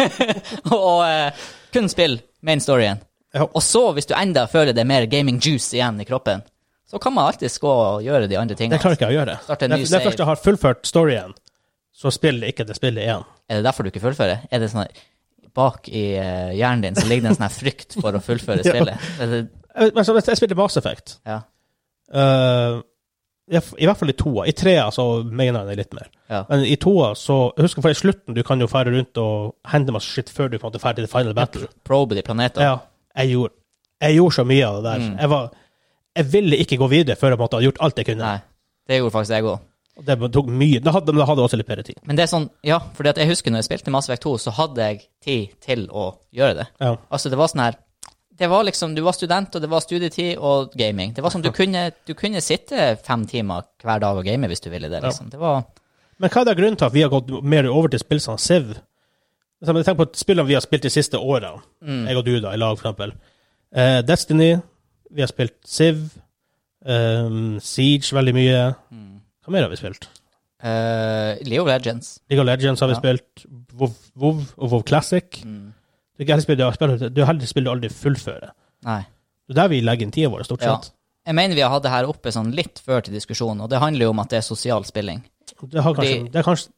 [SPEAKER 2] og eh, kun spill main storyen.
[SPEAKER 1] Ja.
[SPEAKER 2] Og så, hvis du enda føler det er mer gaming juice igjen i kroppen, så kan man alltids gå og gjøre de andre
[SPEAKER 1] Det
[SPEAKER 2] tingene.
[SPEAKER 1] klarer ikke jeg å gjøre.
[SPEAKER 2] Starte en
[SPEAKER 1] Det,
[SPEAKER 2] ny
[SPEAKER 1] det
[SPEAKER 2] save.
[SPEAKER 1] første jeg har fullført storyen, så spiller ikke det spillet igjen.
[SPEAKER 2] Er det derfor du ikke fullfører? Er det sånn at bak i eh, hjernen din så ligger det en sånn her frykt for å fullføre
[SPEAKER 1] Ja.
[SPEAKER 2] spillet? Er det,
[SPEAKER 1] Jeg- Eh, Men så, hvis jeg spiller Mass Effect,
[SPEAKER 2] ja.
[SPEAKER 1] Eh, i, I hvert fall i toa. I trea så mener jeg det litt mer.
[SPEAKER 2] Ja.
[SPEAKER 1] Men i toa så jeg Husker for i slutten, du kan jo fære rundt og hente masse shit før du på en måte drar til the final battle.
[SPEAKER 2] Probe de planetene.
[SPEAKER 1] Ja, jeg gjorde, jeg gjorde så mye av det der.
[SPEAKER 2] Mm.
[SPEAKER 1] Jeg, var, jeg ville ikke gå videre før jeg måtte ha gjort alt jeg kunne.
[SPEAKER 2] Nei, det gjorde faktisk jeg òg.
[SPEAKER 1] Og Det tok mye. Da hadde, da hadde jeg også litt bedre tid.
[SPEAKER 2] Men det er sånn, ja, fordi at jeg husker når jeg spilte Mass Effect 2, så hadde jeg tid til å gjøre det.
[SPEAKER 1] Ja.
[SPEAKER 2] Altså, det var sånn her det var liksom, Du var student, og det var studietid og gaming. Det var sånn, Du kunne, du kunne sitte fem timer hver dag og game hvis du ville det. liksom. Det var,
[SPEAKER 1] Men hva er da grunnen til at vi har gått mer over til spill som Siv? Tenk på spillene vi har spilt de siste årene.
[SPEAKER 2] Mm.
[SPEAKER 1] Jeg og du, da, i lag, for eksempel. Eh, Destiny. Vi har spilt Siv. ehm, Siege veldig mye.
[SPEAKER 2] Mm.
[SPEAKER 1] Hva mer har vi spilt?
[SPEAKER 2] eh, Leo Legends.
[SPEAKER 1] League of Legends har vi
[SPEAKER 2] Ja. Mm.
[SPEAKER 1] spilt. WoW WoW og WoW Classic. Du har heller spilt, du har spilt- du har heller spilt du aldri fullføre.
[SPEAKER 2] Nei.
[SPEAKER 1] Det er der vi legger inn tida vår, stort
[SPEAKER 2] Ja.
[SPEAKER 1] sett.
[SPEAKER 2] Jeg mener vi har hatt det her oppe sånn litt før til diskusjonen, og det handler jo om at det er sosial spilling.
[SPEAKER 1] Det, har kanskje,
[SPEAKER 2] Fordi-
[SPEAKER 1] det, er kanskje,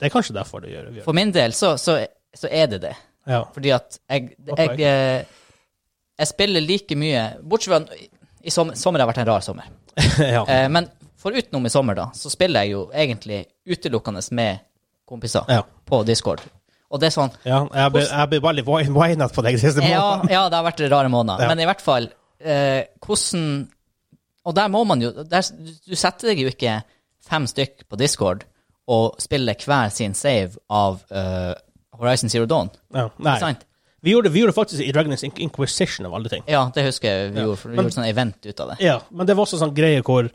[SPEAKER 1] det er kanskje derfor det gjør vi gjør det.
[SPEAKER 2] For min del så, så, så er det det.
[SPEAKER 1] Ja.
[SPEAKER 2] Fordi at jeg, jeg,
[SPEAKER 1] Opplegg.
[SPEAKER 2] eh, jeg spiller like mye Bortsett fra i i som, sommer har vært en rar sommer.
[SPEAKER 1] ja.
[SPEAKER 2] Eh, men forutenom i sommer, da, så spiller jeg jo egentlig utelukkende med kompiser
[SPEAKER 1] Ja.
[SPEAKER 2] på Discord. Og det er sånn
[SPEAKER 1] ja. Jeg blir jeg blir veldig wi- winet på deg siste
[SPEAKER 2] Ja,
[SPEAKER 1] måneden.
[SPEAKER 2] ja, det har vært rare måneder.
[SPEAKER 1] Ja.
[SPEAKER 2] Men i hvert fall, eh, hvordan Og der må man jo der, Du setter deg jo ikke fem stykk på Discord og spiller hver sin save av eh, Horizon Zero Dawn.
[SPEAKER 1] Ja. Nei.
[SPEAKER 2] Ikke sant?
[SPEAKER 1] Vi gjorde, vi gjorde faktisk i Dragon's In- Inquisition av alle ting.
[SPEAKER 2] Ja, det husker jeg vi gjorde. for Vi
[SPEAKER 1] Men-
[SPEAKER 2] gjorde sånn event ut av det.
[SPEAKER 1] Ja, men det var også sånn greie hvor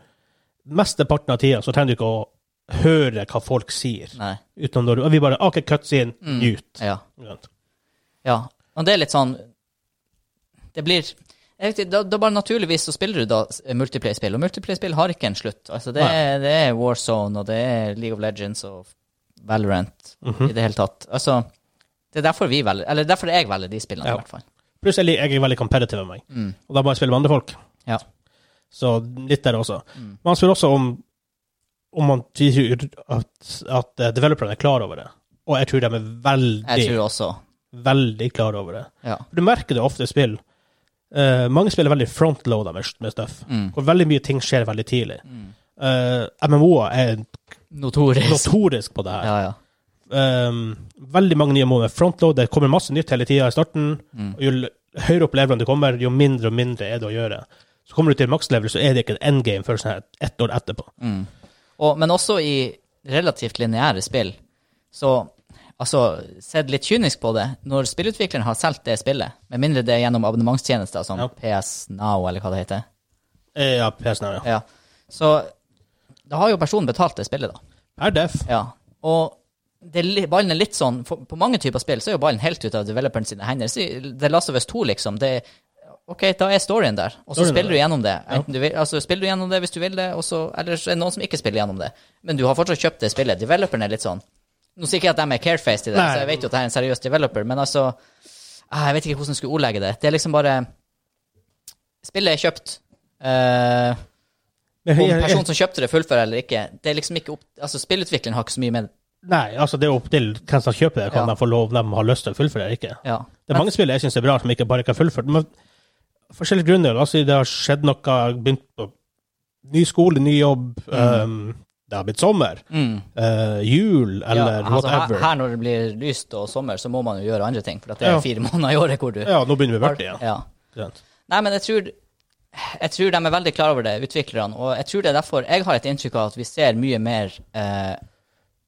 [SPEAKER 1] mesteparten av tida så trenger du ikke å høre hva folk sier.
[SPEAKER 2] Nei. Mm.
[SPEAKER 1] Utenom når du, og vi bare OK, cutscene, nyt.
[SPEAKER 2] Ja.
[SPEAKER 1] Grønt.
[SPEAKER 2] ja. Men det er litt sånn Det blir jeg vet ikke, da, da bare naturligvis så spiller du da s- multiplayer-spill, og multiplayer-spill har ikke en slutt. Altså, det, er, det er Warzone, og det er League of Legends og Valorant i det hele tatt. Altså, det er derfor vi velger, eller derfor jeg velger de spillene,
[SPEAKER 1] Ja.
[SPEAKER 2] i hvert fall.
[SPEAKER 1] Pluss jeg, lik- jeg er veldig competitive med meg, og da må jeg spille med andre folk.
[SPEAKER 2] Mm. Ja. Mm.
[SPEAKER 1] Så litt der også. Men han spør også om, om man sier at, at eh, developerne er klar over det. Og jeg tror de er
[SPEAKER 2] Jeg
[SPEAKER 1] veldig,
[SPEAKER 2] tror også
[SPEAKER 1] veldig klar over det.
[SPEAKER 2] Ja.
[SPEAKER 1] For du merker det ofte i spill. Eh, mange spiller veldig frontloada med, med stuff.
[SPEAKER 2] Mm.
[SPEAKER 1] Hvor veldig mye ting skjer veldig tidlig. Eh, MMO-er er
[SPEAKER 2] Notorisk.
[SPEAKER 1] notorisk på det her.
[SPEAKER 2] Ja, ja.
[SPEAKER 1] Um, veldig mange nye måneder. Frontload, det kommer masse nytt hele tida i starten.
[SPEAKER 2] Mm.
[SPEAKER 1] Og jo l- høyere opp levelene du kommer, jo mindre og mindre er det å gjøre. Så kommer du til maks level, så er det ikke en endgame før sånn her ett år etterpå.
[SPEAKER 2] Mm. Og, men også i relativt lineære spill. Så altså, sett litt kynisk på det, når spillutvikleren har solgt det spillet, med mindre det er gjennom abonnementstjenester som
[SPEAKER 1] Ja.
[SPEAKER 2] PS Now, eller hva det heter,
[SPEAKER 1] Eh, ja, PSN, ja.
[SPEAKER 2] ja. så da har jo personen betalt det spillet, da.
[SPEAKER 1] Per def.
[SPEAKER 2] Ja. Og det, er li- ballen er litt sånn for, På mange typer spill så er jo ballen helt ute av developeren sine hender. Si, The Last of Us 2, liksom. Det, er- OK, da er storyen der, og så
[SPEAKER 1] Storyen er
[SPEAKER 2] spiller du
[SPEAKER 1] der.
[SPEAKER 2] gjennom det. Enten du vil, altså, spiller du gjennom det hvis du vil det, og så, eller så er det noen som ikke spiller gjennom det. Men du har fortsatt kjøpt det spillet. Developeren er litt sånn Nå sier ikke jeg at de er carefaced i det,
[SPEAKER 1] Nei.
[SPEAKER 2] så jeg vet jo at jeg er en seriøs developer, men altså ah, Jeg vet ikke hvordan jeg skulle ordlegge det. Det er liksom bare Spillet er kjøpt. Eh,
[SPEAKER 1] Men
[SPEAKER 2] om
[SPEAKER 1] jeg- jeg-
[SPEAKER 2] personen som kjøpte det, fullfører eller ikke, det er liksom ikke opp Altså, spillutvikleren har ikke så mye med
[SPEAKER 1] Nei, altså det er opp til hvem som kjøper det, kan
[SPEAKER 2] Ja.
[SPEAKER 1] de få lov, de har lyst til å fullføre eller ikke.
[SPEAKER 2] Ja.
[SPEAKER 1] Det er mange spill jeg syns er bra, som ikke bare ikke har fullført. Men forskjellige grunner. Altså, det har skjedd noe, begynt på ny skole, ny jobb. Um, det har blitt sommer.
[SPEAKER 2] Mm.
[SPEAKER 1] eh, jul, eller
[SPEAKER 2] ja, altså,
[SPEAKER 1] whatever.
[SPEAKER 2] Her, her når det blir lyst og sommer, så må man jo gjøre andre ting, for at det er
[SPEAKER 1] Ja.
[SPEAKER 2] fire måneder i året hvor du
[SPEAKER 1] Ja, nå begynner vi å bli igjen.
[SPEAKER 2] Ja.
[SPEAKER 1] Ja.
[SPEAKER 2] Nei, men jeg tror, jeg tror de er veldig klar over det, utviklerne, og jeg tror det er derfor jeg har et inntrykk av at vi ser mye mer eh,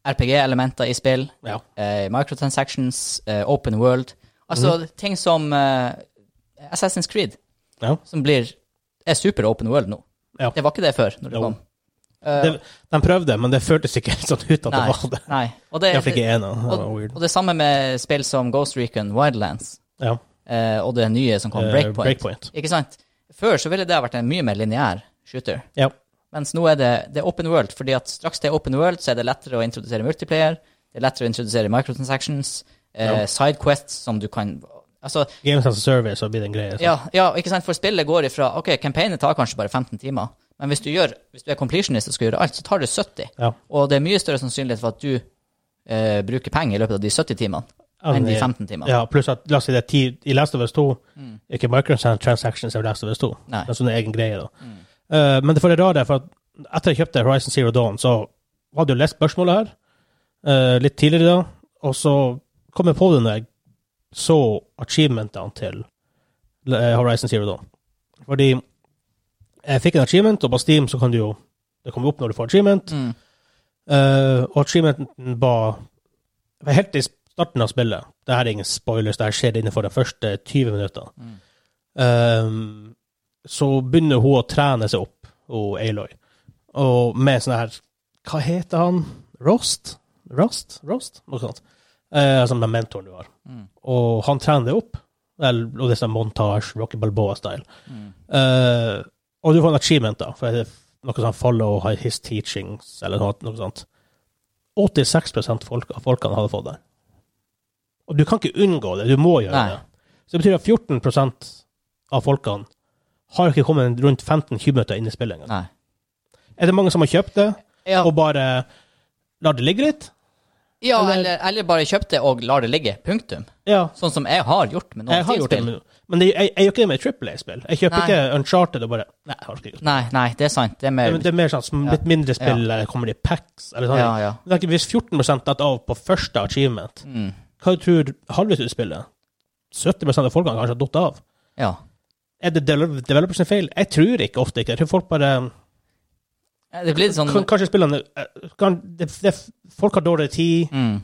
[SPEAKER 2] RPG-elementer i spill,
[SPEAKER 1] Ja.
[SPEAKER 2] eh, microtransactions, eh, open world, altså ting som eh, Assassin's Creed,
[SPEAKER 1] Mhm. Ja.
[SPEAKER 2] som blir er super open world nå.
[SPEAKER 1] Ja.
[SPEAKER 2] Det var ikke det før, når det
[SPEAKER 1] Jo.
[SPEAKER 2] kom.
[SPEAKER 1] Det, de prøvde, men det føltes ikke helt sånn ut at det
[SPEAKER 2] Nei,
[SPEAKER 1] var det.
[SPEAKER 2] Eh, nei. Og det,
[SPEAKER 1] Iallfall ikke ennå. Det
[SPEAKER 2] og,
[SPEAKER 1] var weird.
[SPEAKER 2] og det samme med spill som Ghost Recon Wildlands.
[SPEAKER 1] Ja.
[SPEAKER 2] eh, og det nye som kom,
[SPEAKER 1] Eh,
[SPEAKER 2] Breakpoint.
[SPEAKER 1] Breakpoint.
[SPEAKER 2] Ikke sant? Før så ville det ha vært en mye mer lineær shooter,
[SPEAKER 1] ja.
[SPEAKER 2] mens nå er det, det er open world, fordi at straks det er open world, så er det lettere å introdusere multiplayer, det er lettere å introdusere microtransactions, eh,
[SPEAKER 1] Ja.
[SPEAKER 2] sidequests som du kan Altså,
[SPEAKER 1] Games as a Service har blitt en greie. så-
[SPEAKER 2] ja, ja, ikke sant, for spillet går ifra OK, campaignet tar kanskje bare 15 timer, men hvis du, gjør, hvis du er completionist og skal gjøre alt, så tar det 70.
[SPEAKER 1] Ja.
[SPEAKER 2] Og det er mye større sannsynlighet for at du eh, bruker penger i løpet av de 70 timene enn de 15 timene.
[SPEAKER 1] Ja, pluss at la oss si det er ti i Last of Us 2 Ikke microtransactions i Last of Us 2.
[SPEAKER 2] Mm. Nei. Mm.
[SPEAKER 1] Det er sånn en egen greie, da. Eh, men det får det rare, for at etter jeg kjøpte Horizon Zero Dawn, så hadde jeg lest spørsmålet her eh, litt tidligere da, og så kom jeg på det når jeg så achievementene til eh, Horizon Zero Dawn. Fordi jeg fikk en achievement, og på Steam så kan du jo Det kommer opp når du får achievement.
[SPEAKER 2] Mm.
[SPEAKER 1] Eh, og achievementen var var helt i starten av spillet. Det her er ingen spoilers, det her skjer innenfor de første 20 minuttene. Um, så begynner hun å trene seg opp, hun Aloy. Og med sånn her Hva heter han? Rost? Rost? Rost? Noe sånt. Eh, som den mentoren du har.
[SPEAKER 2] Mm.
[SPEAKER 1] Og han trener deg opp. Eller, og det er sånn montasje, Rocky Balboa-style.
[SPEAKER 2] Mm.
[SPEAKER 1] Eh, og du får en achievement, da. For det er noe sånn 'follow his teachings', eller noe, noe sånt. 86 folk, av folkene hadde fått det. Og du kan ikke unngå det, du må gjøre
[SPEAKER 2] Nei.
[SPEAKER 1] det. Så det betyr at 14 av folkene har ikke kommet rundt 15-20 minutter inn i spillet engang.
[SPEAKER 2] Nei.
[SPEAKER 1] Er det mange som har kjøpt det,
[SPEAKER 2] Ja,
[SPEAKER 1] og bare lar det ligge litt?
[SPEAKER 2] Ja,
[SPEAKER 1] Eller-
[SPEAKER 2] eller, eller bare kjøp det og lar det ligge. Punktum.
[SPEAKER 1] Ja,
[SPEAKER 2] Sånn som jeg har gjort med noen
[SPEAKER 1] jeg har gjort det,
[SPEAKER 2] tidspill.
[SPEAKER 1] men- men det, jeg, jeg gjør ikke det med Triple A-spill. Jeg kjøper
[SPEAKER 2] Nei.
[SPEAKER 1] ikke Uncharted og bare Nei, jeg har ikke gjort det.
[SPEAKER 2] Nei, nei, det er sant. Det er
[SPEAKER 1] Det
[SPEAKER 2] mer
[SPEAKER 1] er- Det er mer sånn som litt mindre spill der det kommer i packs. Eller sånn.
[SPEAKER 2] Ja, ja.
[SPEAKER 1] Men tenk, Hvis 14 datt av på første achievement,
[SPEAKER 2] Mm.
[SPEAKER 1] hva du tror halvveis ut i spillet? 70 av folkene kanskje har datt av.
[SPEAKER 2] Ja.
[SPEAKER 1] Er det devel- developers sin feil? Jeg tror ikke ofte ikke. Jeg tror folk bare
[SPEAKER 2] Det blir litt sånn
[SPEAKER 1] kan, Kanskje spillerne eh, kan, det, det, Folk har dårligere tid,
[SPEAKER 2] mm.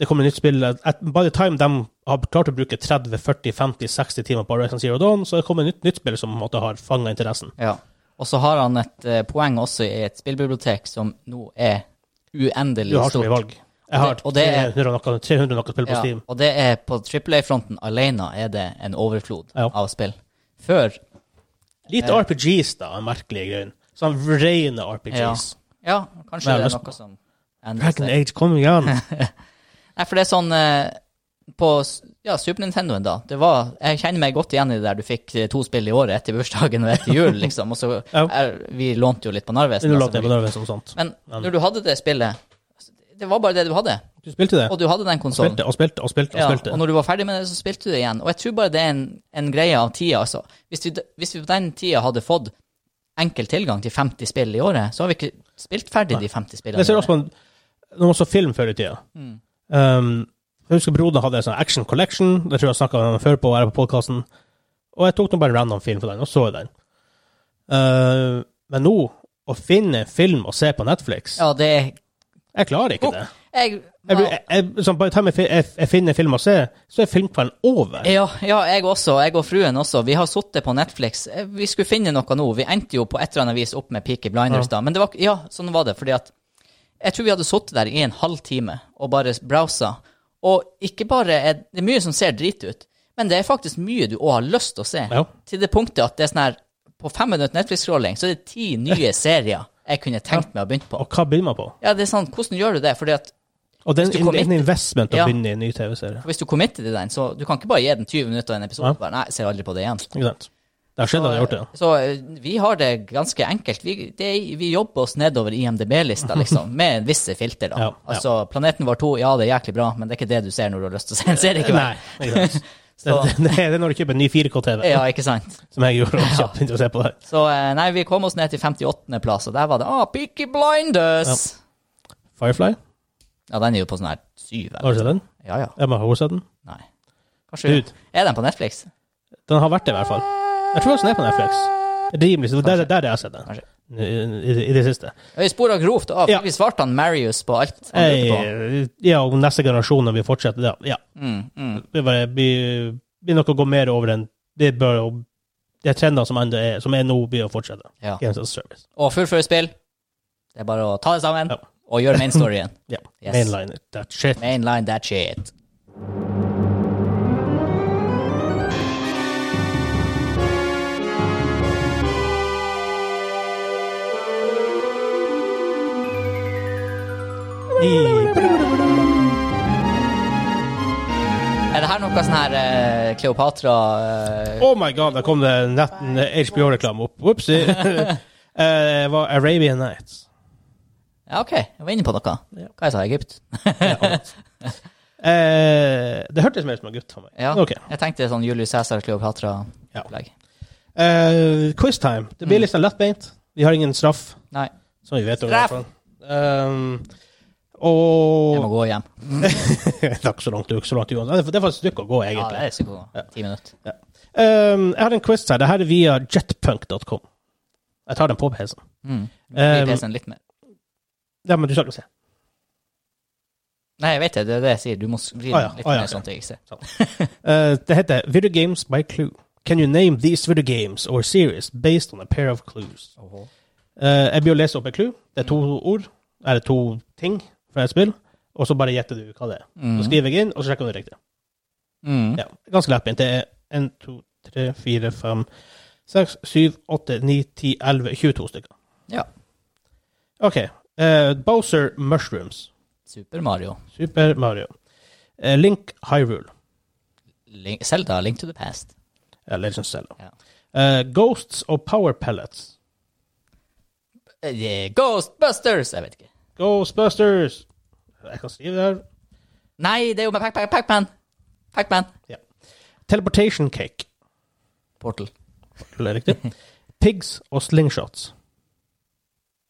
[SPEAKER 1] det kommer nytt spill at By the time de har klart å bruke 30-40-50-60 timer på Horizon Zero Dawn, så det kommer nytt, nytt spill som på en måte har fanga interessen.
[SPEAKER 2] Ja. Og så har han et eh, poeng også i et spillbibliotek som nå er
[SPEAKER 1] Du
[SPEAKER 2] uendelig
[SPEAKER 1] har så
[SPEAKER 2] stort.
[SPEAKER 1] mye valg. Jeg har
[SPEAKER 2] Og det- og
[SPEAKER 1] 300 noe, 300 noe spill på
[SPEAKER 2] Ja,
[SPEAKER 1] Steam.
[SPEAKER 2] og det er på AAA-fronten alene er det en overflod
[SPEAKER 1] Ja.
[SPEAKER 2] av spill. Før
[SPEAKER 1] Lite
[SPEAKER 2] Eh.
[SPEAKER 1] RPGs, da, er merkelige greien. Sånn rene RPGs.
[SPEAKER 2] Ja, kanskje
[SPEAKER 1] Nei,
[SPEAKER 2] det er
[SPEAKER 1] men-
[SPEAKER 2] noe som endrer
[SPEAKER 1] Dragon
[SPEAKER 2] seg.
[SPEAKER 1] Age kom igjen!
[SPEAKER 2] Nei, for det er sånn eh, På s- ja, Super Nintendoen, da. Det var, jeg kjenner meg godt igjen i det der du fikk eh, to spill i året, ett i bursdagen og ett i jul, liksom. Og så
[SPEAKER 1] Ja.
[SPEAKER 2] er, Vi lånte jo litt på Narvesen.
[SPEAKER 1] Nå
[SPEAKER 2] da,
[SPEAKER 1] låter jeg på
[SPEAKER 2] selvfølgelig.
[SPEAKER 1] nerven som sånt.
[SPEAKER 2] Men når du hadde det spillet Det var bare det du hadde.
[SPEAKER 1] Du spilte det?
[SPEAKER 2] Og du hadde den konsollen.
[SPEAKER 1] Spilte og spilte og spilte.
[SPEAKER 2] Ja,
[SPEAKER 1] Og
[SPEAKER 2] og
[SPEAKER 1] spilte.
[SPEAKER 2] når du var ferdig med det, så spilte du det igjen. Og jeg tror bare det er en, en greie av tida, altså. Hvis vi, d- hvis vi på den tida hadde fått enkel tilgang til 50 spill i året, så har vi ikke spilt ferdig de 50 spillene.
[SPEAKER 1] Jeg ser
[SPEAKER 2] i
[SPEAKER 1] også på en, når man så film før i tida.
[SPEAKER 2] Mm.
[SPEAKER 1] Um, jeg husker broren hadde en sånn Action Collection, det tror jeg jeg snakka om før på, her på podcasten. Og jeg tok nå bare en random film for den, og så den. Uh, men nå, å finne en film å se på Netflix
[SPEAKER 2] året. Ja, det er
[SPEAKER 1] Jeg klarer ikke det.
[SPEAKER 2] jeg,
[SPEAKER 1] Jeg, blir- jeg, jeg, sånn, by the time jeg, fi- jeg, jeg finner en film å se, så er filmkvelden over.
[SPEAKER 2] ja, ja, jeg også. Jeg og fruen også. Vi har sittet på Netflix. Eh, Vi skulle finne noe nå. Vi endte jo på et eller annet vis opp med Peaky Blinders, da. Men det var, ikke- ja, sånn var det. Fordi at jeg tror vi hadde sittet der i en halv time og bare browsa. Og ikke bare er det er mye som ser drit ut, men det er faktisk mye du òg har lyst til å se.
[SPEAKER 1] Ja.
[SPEAKER 2] Til det punktet at det er sånn her På fem minutter Netflix-scrolling så er det ti nye serier jeg kunne tenkt meg å begynne på.
[SPEAKER 1] Og hva begynner man på?
[SPEAKER 2] Ja, det er sånn, Hvordan gjør du det? Fordi at
[SPEAKER 1] Og det
[SPEAKER 2] Hvis
[SPEAKER 1] er
[SPEAKER 2] du
[SPEAKER 1] en,
[SPEAKER 2] kommer
[SPEAKER 1] en investment å
[SPEAKER 2] Ja.
[SPEAKER 1] begynne i en ny TV-serie.
[SPEAKER 2] hvis du committer til den, så du kan ikke bare gi den 20 minutter og en episode.
[SPEAKER 1] Ja.
[SPEAKER 2] og Bare, nei, ser aldri på det igjen.
[SPEAKER 1] Ikke sant? Det har skjedd at jeg har gjort det.
[SPEAKER 2] Så eh, vi har det ganske enkelt. Vi, det, er- vi jobber oss nedover IMDb-lista, liksom, med visse filter, da.
[SPEAKER 1] Ja, ja.
[SPEAKER 2] Altså, Planeten vår 2, ja, det er jæklig bra, men det er ikke det du ser når du har lyst til å se en serie hver.
[SPEAKER 1] Nei, ikke sant. Det,
[SPEAKER 2] Så-
[SPEAKER 1] det, det er når du kjøper en ny 4K-TV,
[SPEAKER 2] Ja, ikke sant?
[SPEAKER 1] som jeg gjorde. Og så begynte å se på det.
[SPEAKER 2] Så eh, nei, vi kom oss ned til 58. plass, og der var det ah, Peaky Blinders!
[SPEAKER 1] Firefly?
[SPEAKER 2] Ja. den er jo på sånn her syv,
[SPEAKER 1] Har
[SPEAKER 2] eller?
[SPEAKER 1] du sett den?
[SPEAKER 2] Ja, ja.
[SPEAKER 1] Emma, har du sett den?
[SPEAKER 2] Nei. Kanskje
[SPEAKER 1] Dude.
[SPEAKER 2] Er den på Netflix?
[SPEAKER 1] Den har vært det, i hvert fall. Jeg tror også den er på Netflix. Rimelig. så Der, der jeg har sett den.
[SPEAKER 2] Kanskje.
[SPEAKER 1] I, i, i det siste.
[SPEAKER 2] Vi sporer grovt av.
[SPEAKER 1] Ja.
[SPEAKER 2] Vi svarte han Marius på alt han lurte på.
[SPEAKER 1] Jeg, ja, og neste generasjon, når vi fortsetter det, ja.
[SPEAKER 2] Mm, mm.
[SPEAKER 1] Det bare blir, blir nok å gå mer over den Det bør jo De trendene som, enda er, som er nå, blir å fortsette.
[SPEAKER 2] Ja.
[SPEAKER 1] Games as a service.
[SPEAKER 2] Og fullføre spill. Det er bare å ta det sammen
[SPEAKER 1] Ja.
[SPEAKER 2] og gjøre main storyen.
[SPEAKER 1] Ja.
[SPEAKER 2] Yes.
[SPEAKER 1] Mainline it. That shit.
[SPEAKER 2] Mainline that shit. Er det her noe sånn her eh, Kleopatra eh,
[SPEAKER 1] Oh my god, da kom det netten HBO-reklame opp. Opsi. Det var Arabian Nights.
[SPEAKER 2] Ja, OK, jeg var inne på noe.
[SPEAKER 1] Ja.
[SPEAKER 2] Hva jeg sa Egypt?
[SPEAKER 1] Eh, det hørtes mer ut som en gutt for meg.
[SPEAKER 2] Ja.
[SPEAKER 1] Men ok.
[SPEAKER 2] Jeg tenkte sånn Julius Cæsar, Kleopatra-opplegg.
[SPEAKER 1] Eh, Quiztime. Det
[SPEAKER 2] Mm.
[SPEAKER 1] blir litt sånn lettbeint. Vi har ingen straff,
[SPEAKER 2] Nei,
[SPEAKER 1] som vi vet om. i
[SPEAKER 2] Straff!
[SPEAKER 1] hvert fall. Um,
[SPEAKER 2] jeg må
[SPEAKER 1] og
[SPEAKER 2] gå hjem.
[SPEAKER 1] Det er ikke så langt, det er ikke så langt uansett. Det er faktisk et stykke å gå,
[SPEAKER 2] Ja, det
[SPEAKER 1] egentlig.
[SPEAKER 2] er sikkert noe. ti minutter.
[SPEAKER 1] Um, jeg har en quiz her. Det her er via jetpunk.com. Jeg tar den på PC-en.
[SPEAKER 2] Mm.
[SPEAKER 1] Um,
[SPEAKER 2] Blir PC-en litt mer.
[SPEAKER 1] Ja, men du skal ikke se.
[SPEAKER 2] Nei, jeg vet det, det er det jeg sier. Du må vri
[SPEAKER 1] Å Ah, ja,
[SPEAKER 2] litt
[SPEAKER 1] å ja,
[SPEAKER 2] mer
[SPEAKER 1] ok.
[SPEAKER 2] sånn at jeg ikke ser.
[SPEAKER 1] Uh, det heter Video Games by Clue. Can you name these video games or series based on a pair of clues? Uh, jeg blir å lese opp et clue. Det er to ord, eller to ting fra et spill, og så bare gjetter du hva det er. Så skriver jeg inn, og så sjekker du det riktig.
[SPEAKER 2] Mm.
[SPEAKER 1] Ja, ganske lettbeint. Det er 1, 2, 3, 4, 5, 6, 7, 8, 9, 10, 11, 22 stykker.
[SPEAKER 2] Ja.
[SPEAKER 1] OK. Uh, Bowser Mushrooms.
[SPEAKER 2] Super Mario.
[SPEAKER 1] Super Mario. Uh, Link Hyrule.
[SPEAKER 2] Link, Zelda, Link to the Past.
[SPEAKER 1] Ja, Legends Zelda.
[SPEAKER 2] Ja.
[SPEAKER 1] Uh, Ghosts og Power Pellets.
[SPEAKER 2] Eh, Ghostbusters! Jeg vet ikke.
[SPEAKER 1] Ghostbusters! Jeg kan skrive det her.
[SPEAKER 2] Nei, det er jo med Pac- Pac- Pac-Man! Pac-Man.
[SPEAKER 1] Teleportation cake.
[SPEAKER 2] Portal.
[SPEAKER 1] Det er riktig. Pigs og slingshots.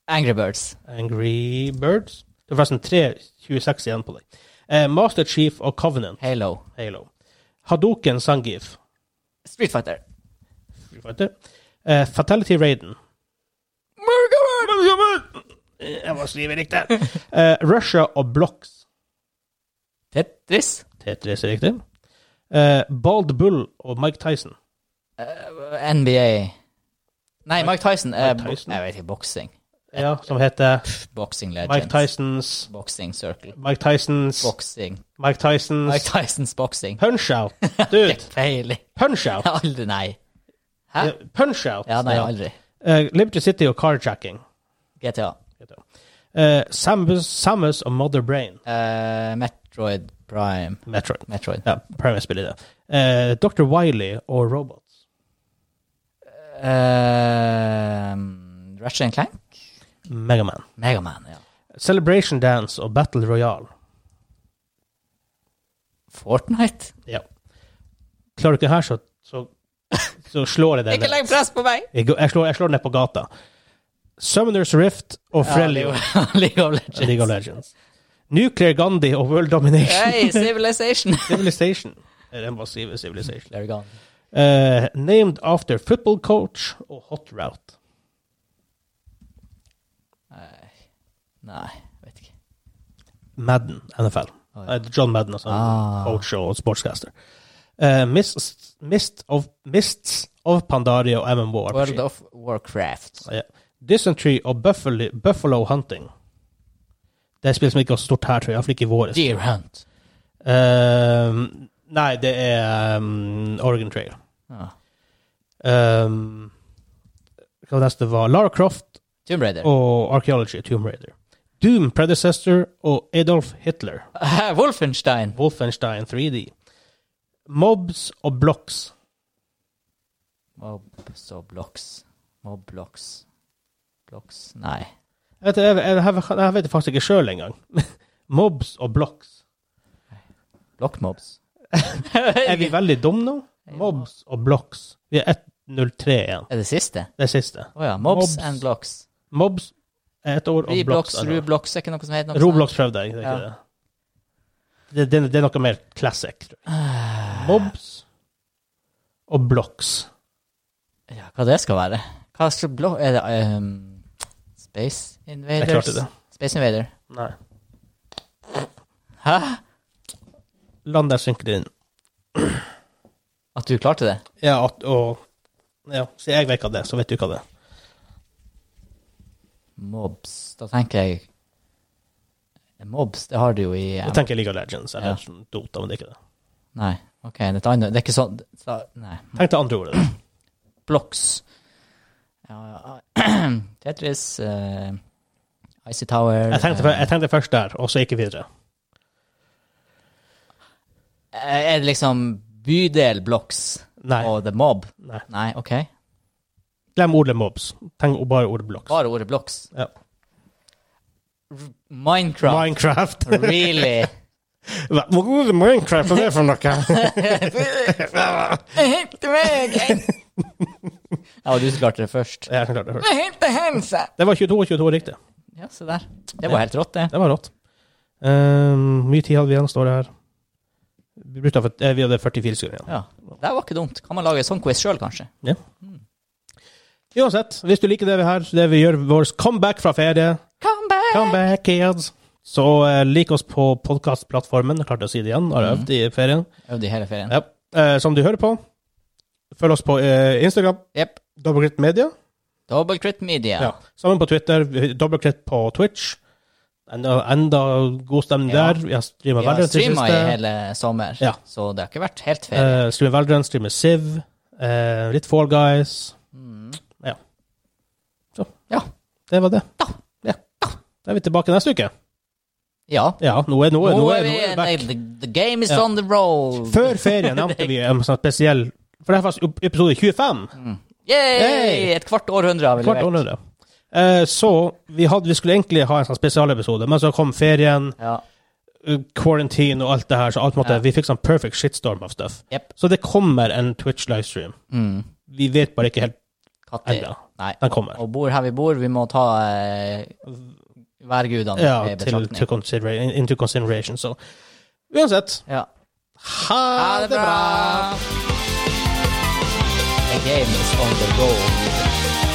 [SPEAKER 2] Angry Birds.
[SPEAKER 1] Angry Birds. Det er forresten 3.26 igjen på deg. Eh, Master Chief og Covenant.
[SPEAKER 2] Halo.
[SPEAKER 1] Halo. Hadoken Sangif.
[SPEAKER 2] Street Fighter.
[SPEAKER 1] Street Fighter. Eh, Fatality Raiden. Eh, Jeg må skrive riktig. Eh, Russia og Blocks.
[SPEAKER 2] Tetris.
[SPEAKER 1] Tetris er riktig. Eh, Bald Bull og Mike Tyson.
[SPEAKER 2] Eh, NBA. Nei, Mike Tyson. er
[SPEAKER 1] Mike
[SPEAKER 2] bo-
[SPEAKER 1] Tyson?
[SPEAKER 2] Jeg vet ikke, boksing.
[SPEAKER 1] Ja, som heter
[SPEAKER 2] Boxing
[SPEAKER 1] Mike
[SPEAKER 2] Legends.
[SPEAKER 1] Tysons
[SPEAKER 2] Boxing Circle.
[SPEAKER 1] Mike Tysons
[SPEAKER 2] Boxing.
[SPEAKER 1] Mike
[SPEAKER 2] Mike
[SPEAKER 1] Tysons
[SPEAKER 2] Tysons boxing.
[SPEAKER 1] Punch-Out. Dude,
[SPEAKER 2] Feiling.
[SPEAKER 1] Punch-Out.
[SPEAKER 2] Aldri, nei. Hæ?
[SPEAKER 1] Ja, Punch-Out.
[SPEAKER 2] Ja, nei, aldri.
[SPEAKER 1] Eh, Liberty City og Carjacking.
[SPEAKER 2] GTA.
[SPEAKER 1] Eh, Samus, Samus og Mother Brain.
[SPEAKER 2] Eh, Metroid Prime.
[SPEAKER 1] Metroid.
[SPEAKER 2] Metroid.
[SPEAKER 1] Ja, Prime-spillet, det. Eh, Dr. Wiley og Robots.
[SPEAKER 2] Eh, Ratchet and Clank?
[SPEAKER 1] Megaman.
[SPEAKER 2] Megaman, ja.
[SPEAKER 1] Celebration Dance og Battle Royale.
[SPEAKER 2] Fortnite?
[SPEAKER 1] Ja. Klarer du ikke det her, så, så, så slår jeg deg
[SPEAKER 2] Ikke legg press på meg!
[SPEAKER 1] Jeg, går- jeg, slår, jeg slår ned på gata. Summoners Rift og
[SPEAKER 2] Ja,
[SPEAKER 1] Frelly
[SPEAKER 2] League of Legends.
[SPEAKER 1] League of Legends. Nuclear Gandhi og World Domination.
[SPEAKER 2] Hey, Civilization!
[SPEAKER 1] Civilization. Eh, Den var siv- Civilization.
[SPEAKER 2] There we go.
[SPEAKER 1] Eh, named after football coach og Hot Route.
[SPEAKER 2] Nei, vet ikke.
[SPEAKER 1] Madden, NFL.
[SPEAKER 2] Å,
[SPEAKER 1] Eh, John Madden, altså
[SPEAKER 2] Ah.
[SPEAKER 1] coach og sportscaster. Eh, Mists, Mist of, Mists of Pandaria og MMO.
[SPEAKER 2] World of Warcraft.
[SPEAKER 1] Ja. Dysentery og Buffalo, Buffalo Hunting. Det er et spill som ikke er så stort her, tror jeg. Iallfall ikke i våres.
[SPEAKER 2] Deer Hunt.
[SPEAKER 1] Ehm, nei, det er ehm, Oregon Trail.
[SPEAKER 2] Ja.
[SPEAKER 1] Ehm, hva var det neste var? Lara Croft
[SPEAKER 2] Tomb Raider.
[SPEAKER 1] og Archaeology, Tomb Raider. Doom Predecessor og Adolf Hitler.
[SPEAKER 2] Wolfenstein.
[SPEAKER 1] Wolfenstein 3D. Mobs og Blocks.
[SPEAKER 2] Mobs og blocks. Mob blocks. Blocks Nei.
[SPEAKER 1] Jeg vet, jeg, jeg, jeg, jeg vet det faktisk ikke sjøl engang. Mobs og Blocks.
[SPEAKER 2] Blokkmobs.
[SPEAKER 1] Er vi
[SPEAKER 2] er
[SPEAKER 1] veldig dumme nå? Mobs og Blocks. Vi er 1.03 igjen.
[SPEAKER 2] det siste?
[SPEAKER 1] Det siste.
[SPEAKER 2] Å ja. Mobs,
[SPEAKER 1] Mobs.
[SPEAKER 2] and blocks.
[SPEAKER 1] Mobs er ett ord, og
[SPEAKER 2] Reblox,
[SPEAKER 1] Blocks er noe.
[SPEAKER 2] Rublox, er ikke noe som heter noe
[SPEAKER 1] Roblox prøvde jeg, det er
[SPEAKER 2] Ja.
[SPEAKER 1] ikke det. Det, det. Det er noe mer classic. tror jeg.
[SPEAKER 2] Ah,
[SPEAKER 1] Mobs og blocks.
[SPEAKER 2] sånt? Ja, hva det skal være? Hva skal blok... Er det ehm, Space Invaders?
[SPEAKER 1] Jeg klarte det.
[SPEAKER 2] Space Invader.
[SPEAKER 1] Nei.
[SPEAKER 2] Hæ?
[SPEAKER 1] Land der synker det inn.
[SPEAKER 2] At du klarte det?
[SPEAKER 1] Ja, at, og ja, Så jeg vet hva det er, så vet du hva det er.
[SPEAKER 2] Mobs. Da tenker jeg eh, Mobs, det har du jo i eh,
[SPEAKER 1] Jeg tenker League of Legends eller
[SPEAKER 2] Ja.
[SPEAKER 1] sånn Dota, men det er ikke det.
[SPEAKER 2] Nei, OK, det er et annet Det er ikke sånn så, Nei.
[SPEAKER 1] Tenk det andre ordet.
[SPEAKER 2] Blocks. Ja, ja. Tetris, eh, Icy Tower
[SPEAKER 1] Jeg tenkte, jeg tenkte først der, og så gikk jeg videre.
[SPEAKER 2] eh, Er det liksom bydel Blocks
[SPEAKER 1] Nei.
[SPEAKER 2] og The Mob?
[SPEAKER 1] nei.
[SPEAKER 2] Nei, OK.
[SPEAKER 1] Glem ordet mobs. Tenk bare ordet blocks.
[SPEAKER 2] Bare ordet Blocks.
[SPEAKER 1] Ja.
[SPEAKER 2] Minecraft.
[SPEAKER 1] Minecraft.
[SPEAKER 2] really?
[SPEAKER 1] Hva ordet Minecraft er det for noe?
[SPEAKER 2] Hente meg! Ja, du som klarte det først.
[SPEAKER 1] Jeg klarte det først.
[SPEAKER 2] Hente hensa!
[SPEAKER 1] Det var 22 og 22 riktig.
[SPEAKER 2] Ja, se der. Det var helt rått, det.
[SPEAKER 1] Det var rått. Ehm, mye tid hadde vi igjen, står det her. Vi, brukte, av- eh, vi hadde 44 sekunder igjen.
[SPEAKER 2] Ja. Det var ikke dumt. Kan man lage en sånn quiz sjøl, kanskje?
[SPEAKER 1] Uansett, hvis du liker det vi her, det vi gjør vår comeback fra ferie,
[SPEAKER 2] Come back!
[SPEAKER 1] comeback kids, så eh, lik oss på podkastplattformen. Jeg Klarte å si det igjen, har øvd i ferien.
[SPEAKER 2] Øvde i hele ferien.
[SPEAKER 1] Mm. Ja. Eh, som du hører på, følg oss på eh, Instagram,
[SPEAKER 2] Jepp.
[SPEAKER 1] Dobbeltkritt Media.
[SPEAKER 2] Double Crit Media.
[SPEAKER 1] Ja. Sammen på Twitter, vi- Dobbeltkritt på Twitch. Enda, enda god stemning
[SPEAKER 2] Ja.
[SPEAKER 1] der. Vi har streama
[SPEAKER 2] Vi har
[SPEAKER 1] Valorant til
[SPEAKER 2] streama i
[SPEAKER 1] siste.
[SPEAKER 2] hele sommer,
[SPEAKER 1] Ja.
[SPEAKER 2] så det har ikke vært helt ferie.
[SPEAKER 1] Uh, streamer Valorant, streamer Siv, eh, litt Fall Guys.
[SPEAKER 2] Mm.
[SPEAKER 1] Ja. Så.
[SPEAKER 2] Ja.
[SPEAKER 1] Det var det. Ja. Da er vi tilbake neste uke.
[SPEAKER 2] ja.
[SPEAKER 1] Ja, nå er, nå er, nå er, nå er vi
[SPEAKER 2] nei,
[SPEAKER 1] back.
[SPEAKER 2] the, the game is
[SPEAKER 1] Ja.
[SPEAKER 2] on the roll.
[SPEAKER 1] Før ferien nevnte vi en sånn spesiell For det er faktisk opp- episode 25.
[SPEAKER 2] Yay!
[SPEAKER 1] Hey!
[SPEAKER 2] Et kvart århundre har vi
[SPEAKER 1] Kvart
[SPEAKER 2] levert.
[SPEAKER 1] århundre. Eh, så vi, hadde, vi skulle egentlig ha en sånn spesialepisode, men så kom ferien.
[SPEAKER 2] Ja.
[SPEAKER 1] eh, quarantine og alt det her, så alt måtte,
[SPEAKER 2] Ja.
[SPEAKER 1] vi fikk sånn perfect shitstorm av stuff.
[SPEAKER 2] Jepp.
[SPEAKER 1] Så det kommer en Twitch-livestream.
[SPEAKER 2] Mm.
[SPEAKER 1] Vi vet bare ikke helt
[SPEAKER 2] Katter.
[SPEAKER 1] ennå.
[SPEAKER 2] Nei.
[SPEAKER 1] Den kommer.
[SPEAKER 2] Og bor her vi bor, vi må ta eh, værgudene
[SPEAKER 1] Ja,
[SPEAKER 2] i
[SPEAKER 1] til,
[SPEAKER 2] betraktning.
[SPEAKER 1] til considera into consideration. Så uansett
[SPEAKER 2] Ja.
[SPEAKER 1] ha det bra!
[SPEAKER 2] The game is on the go.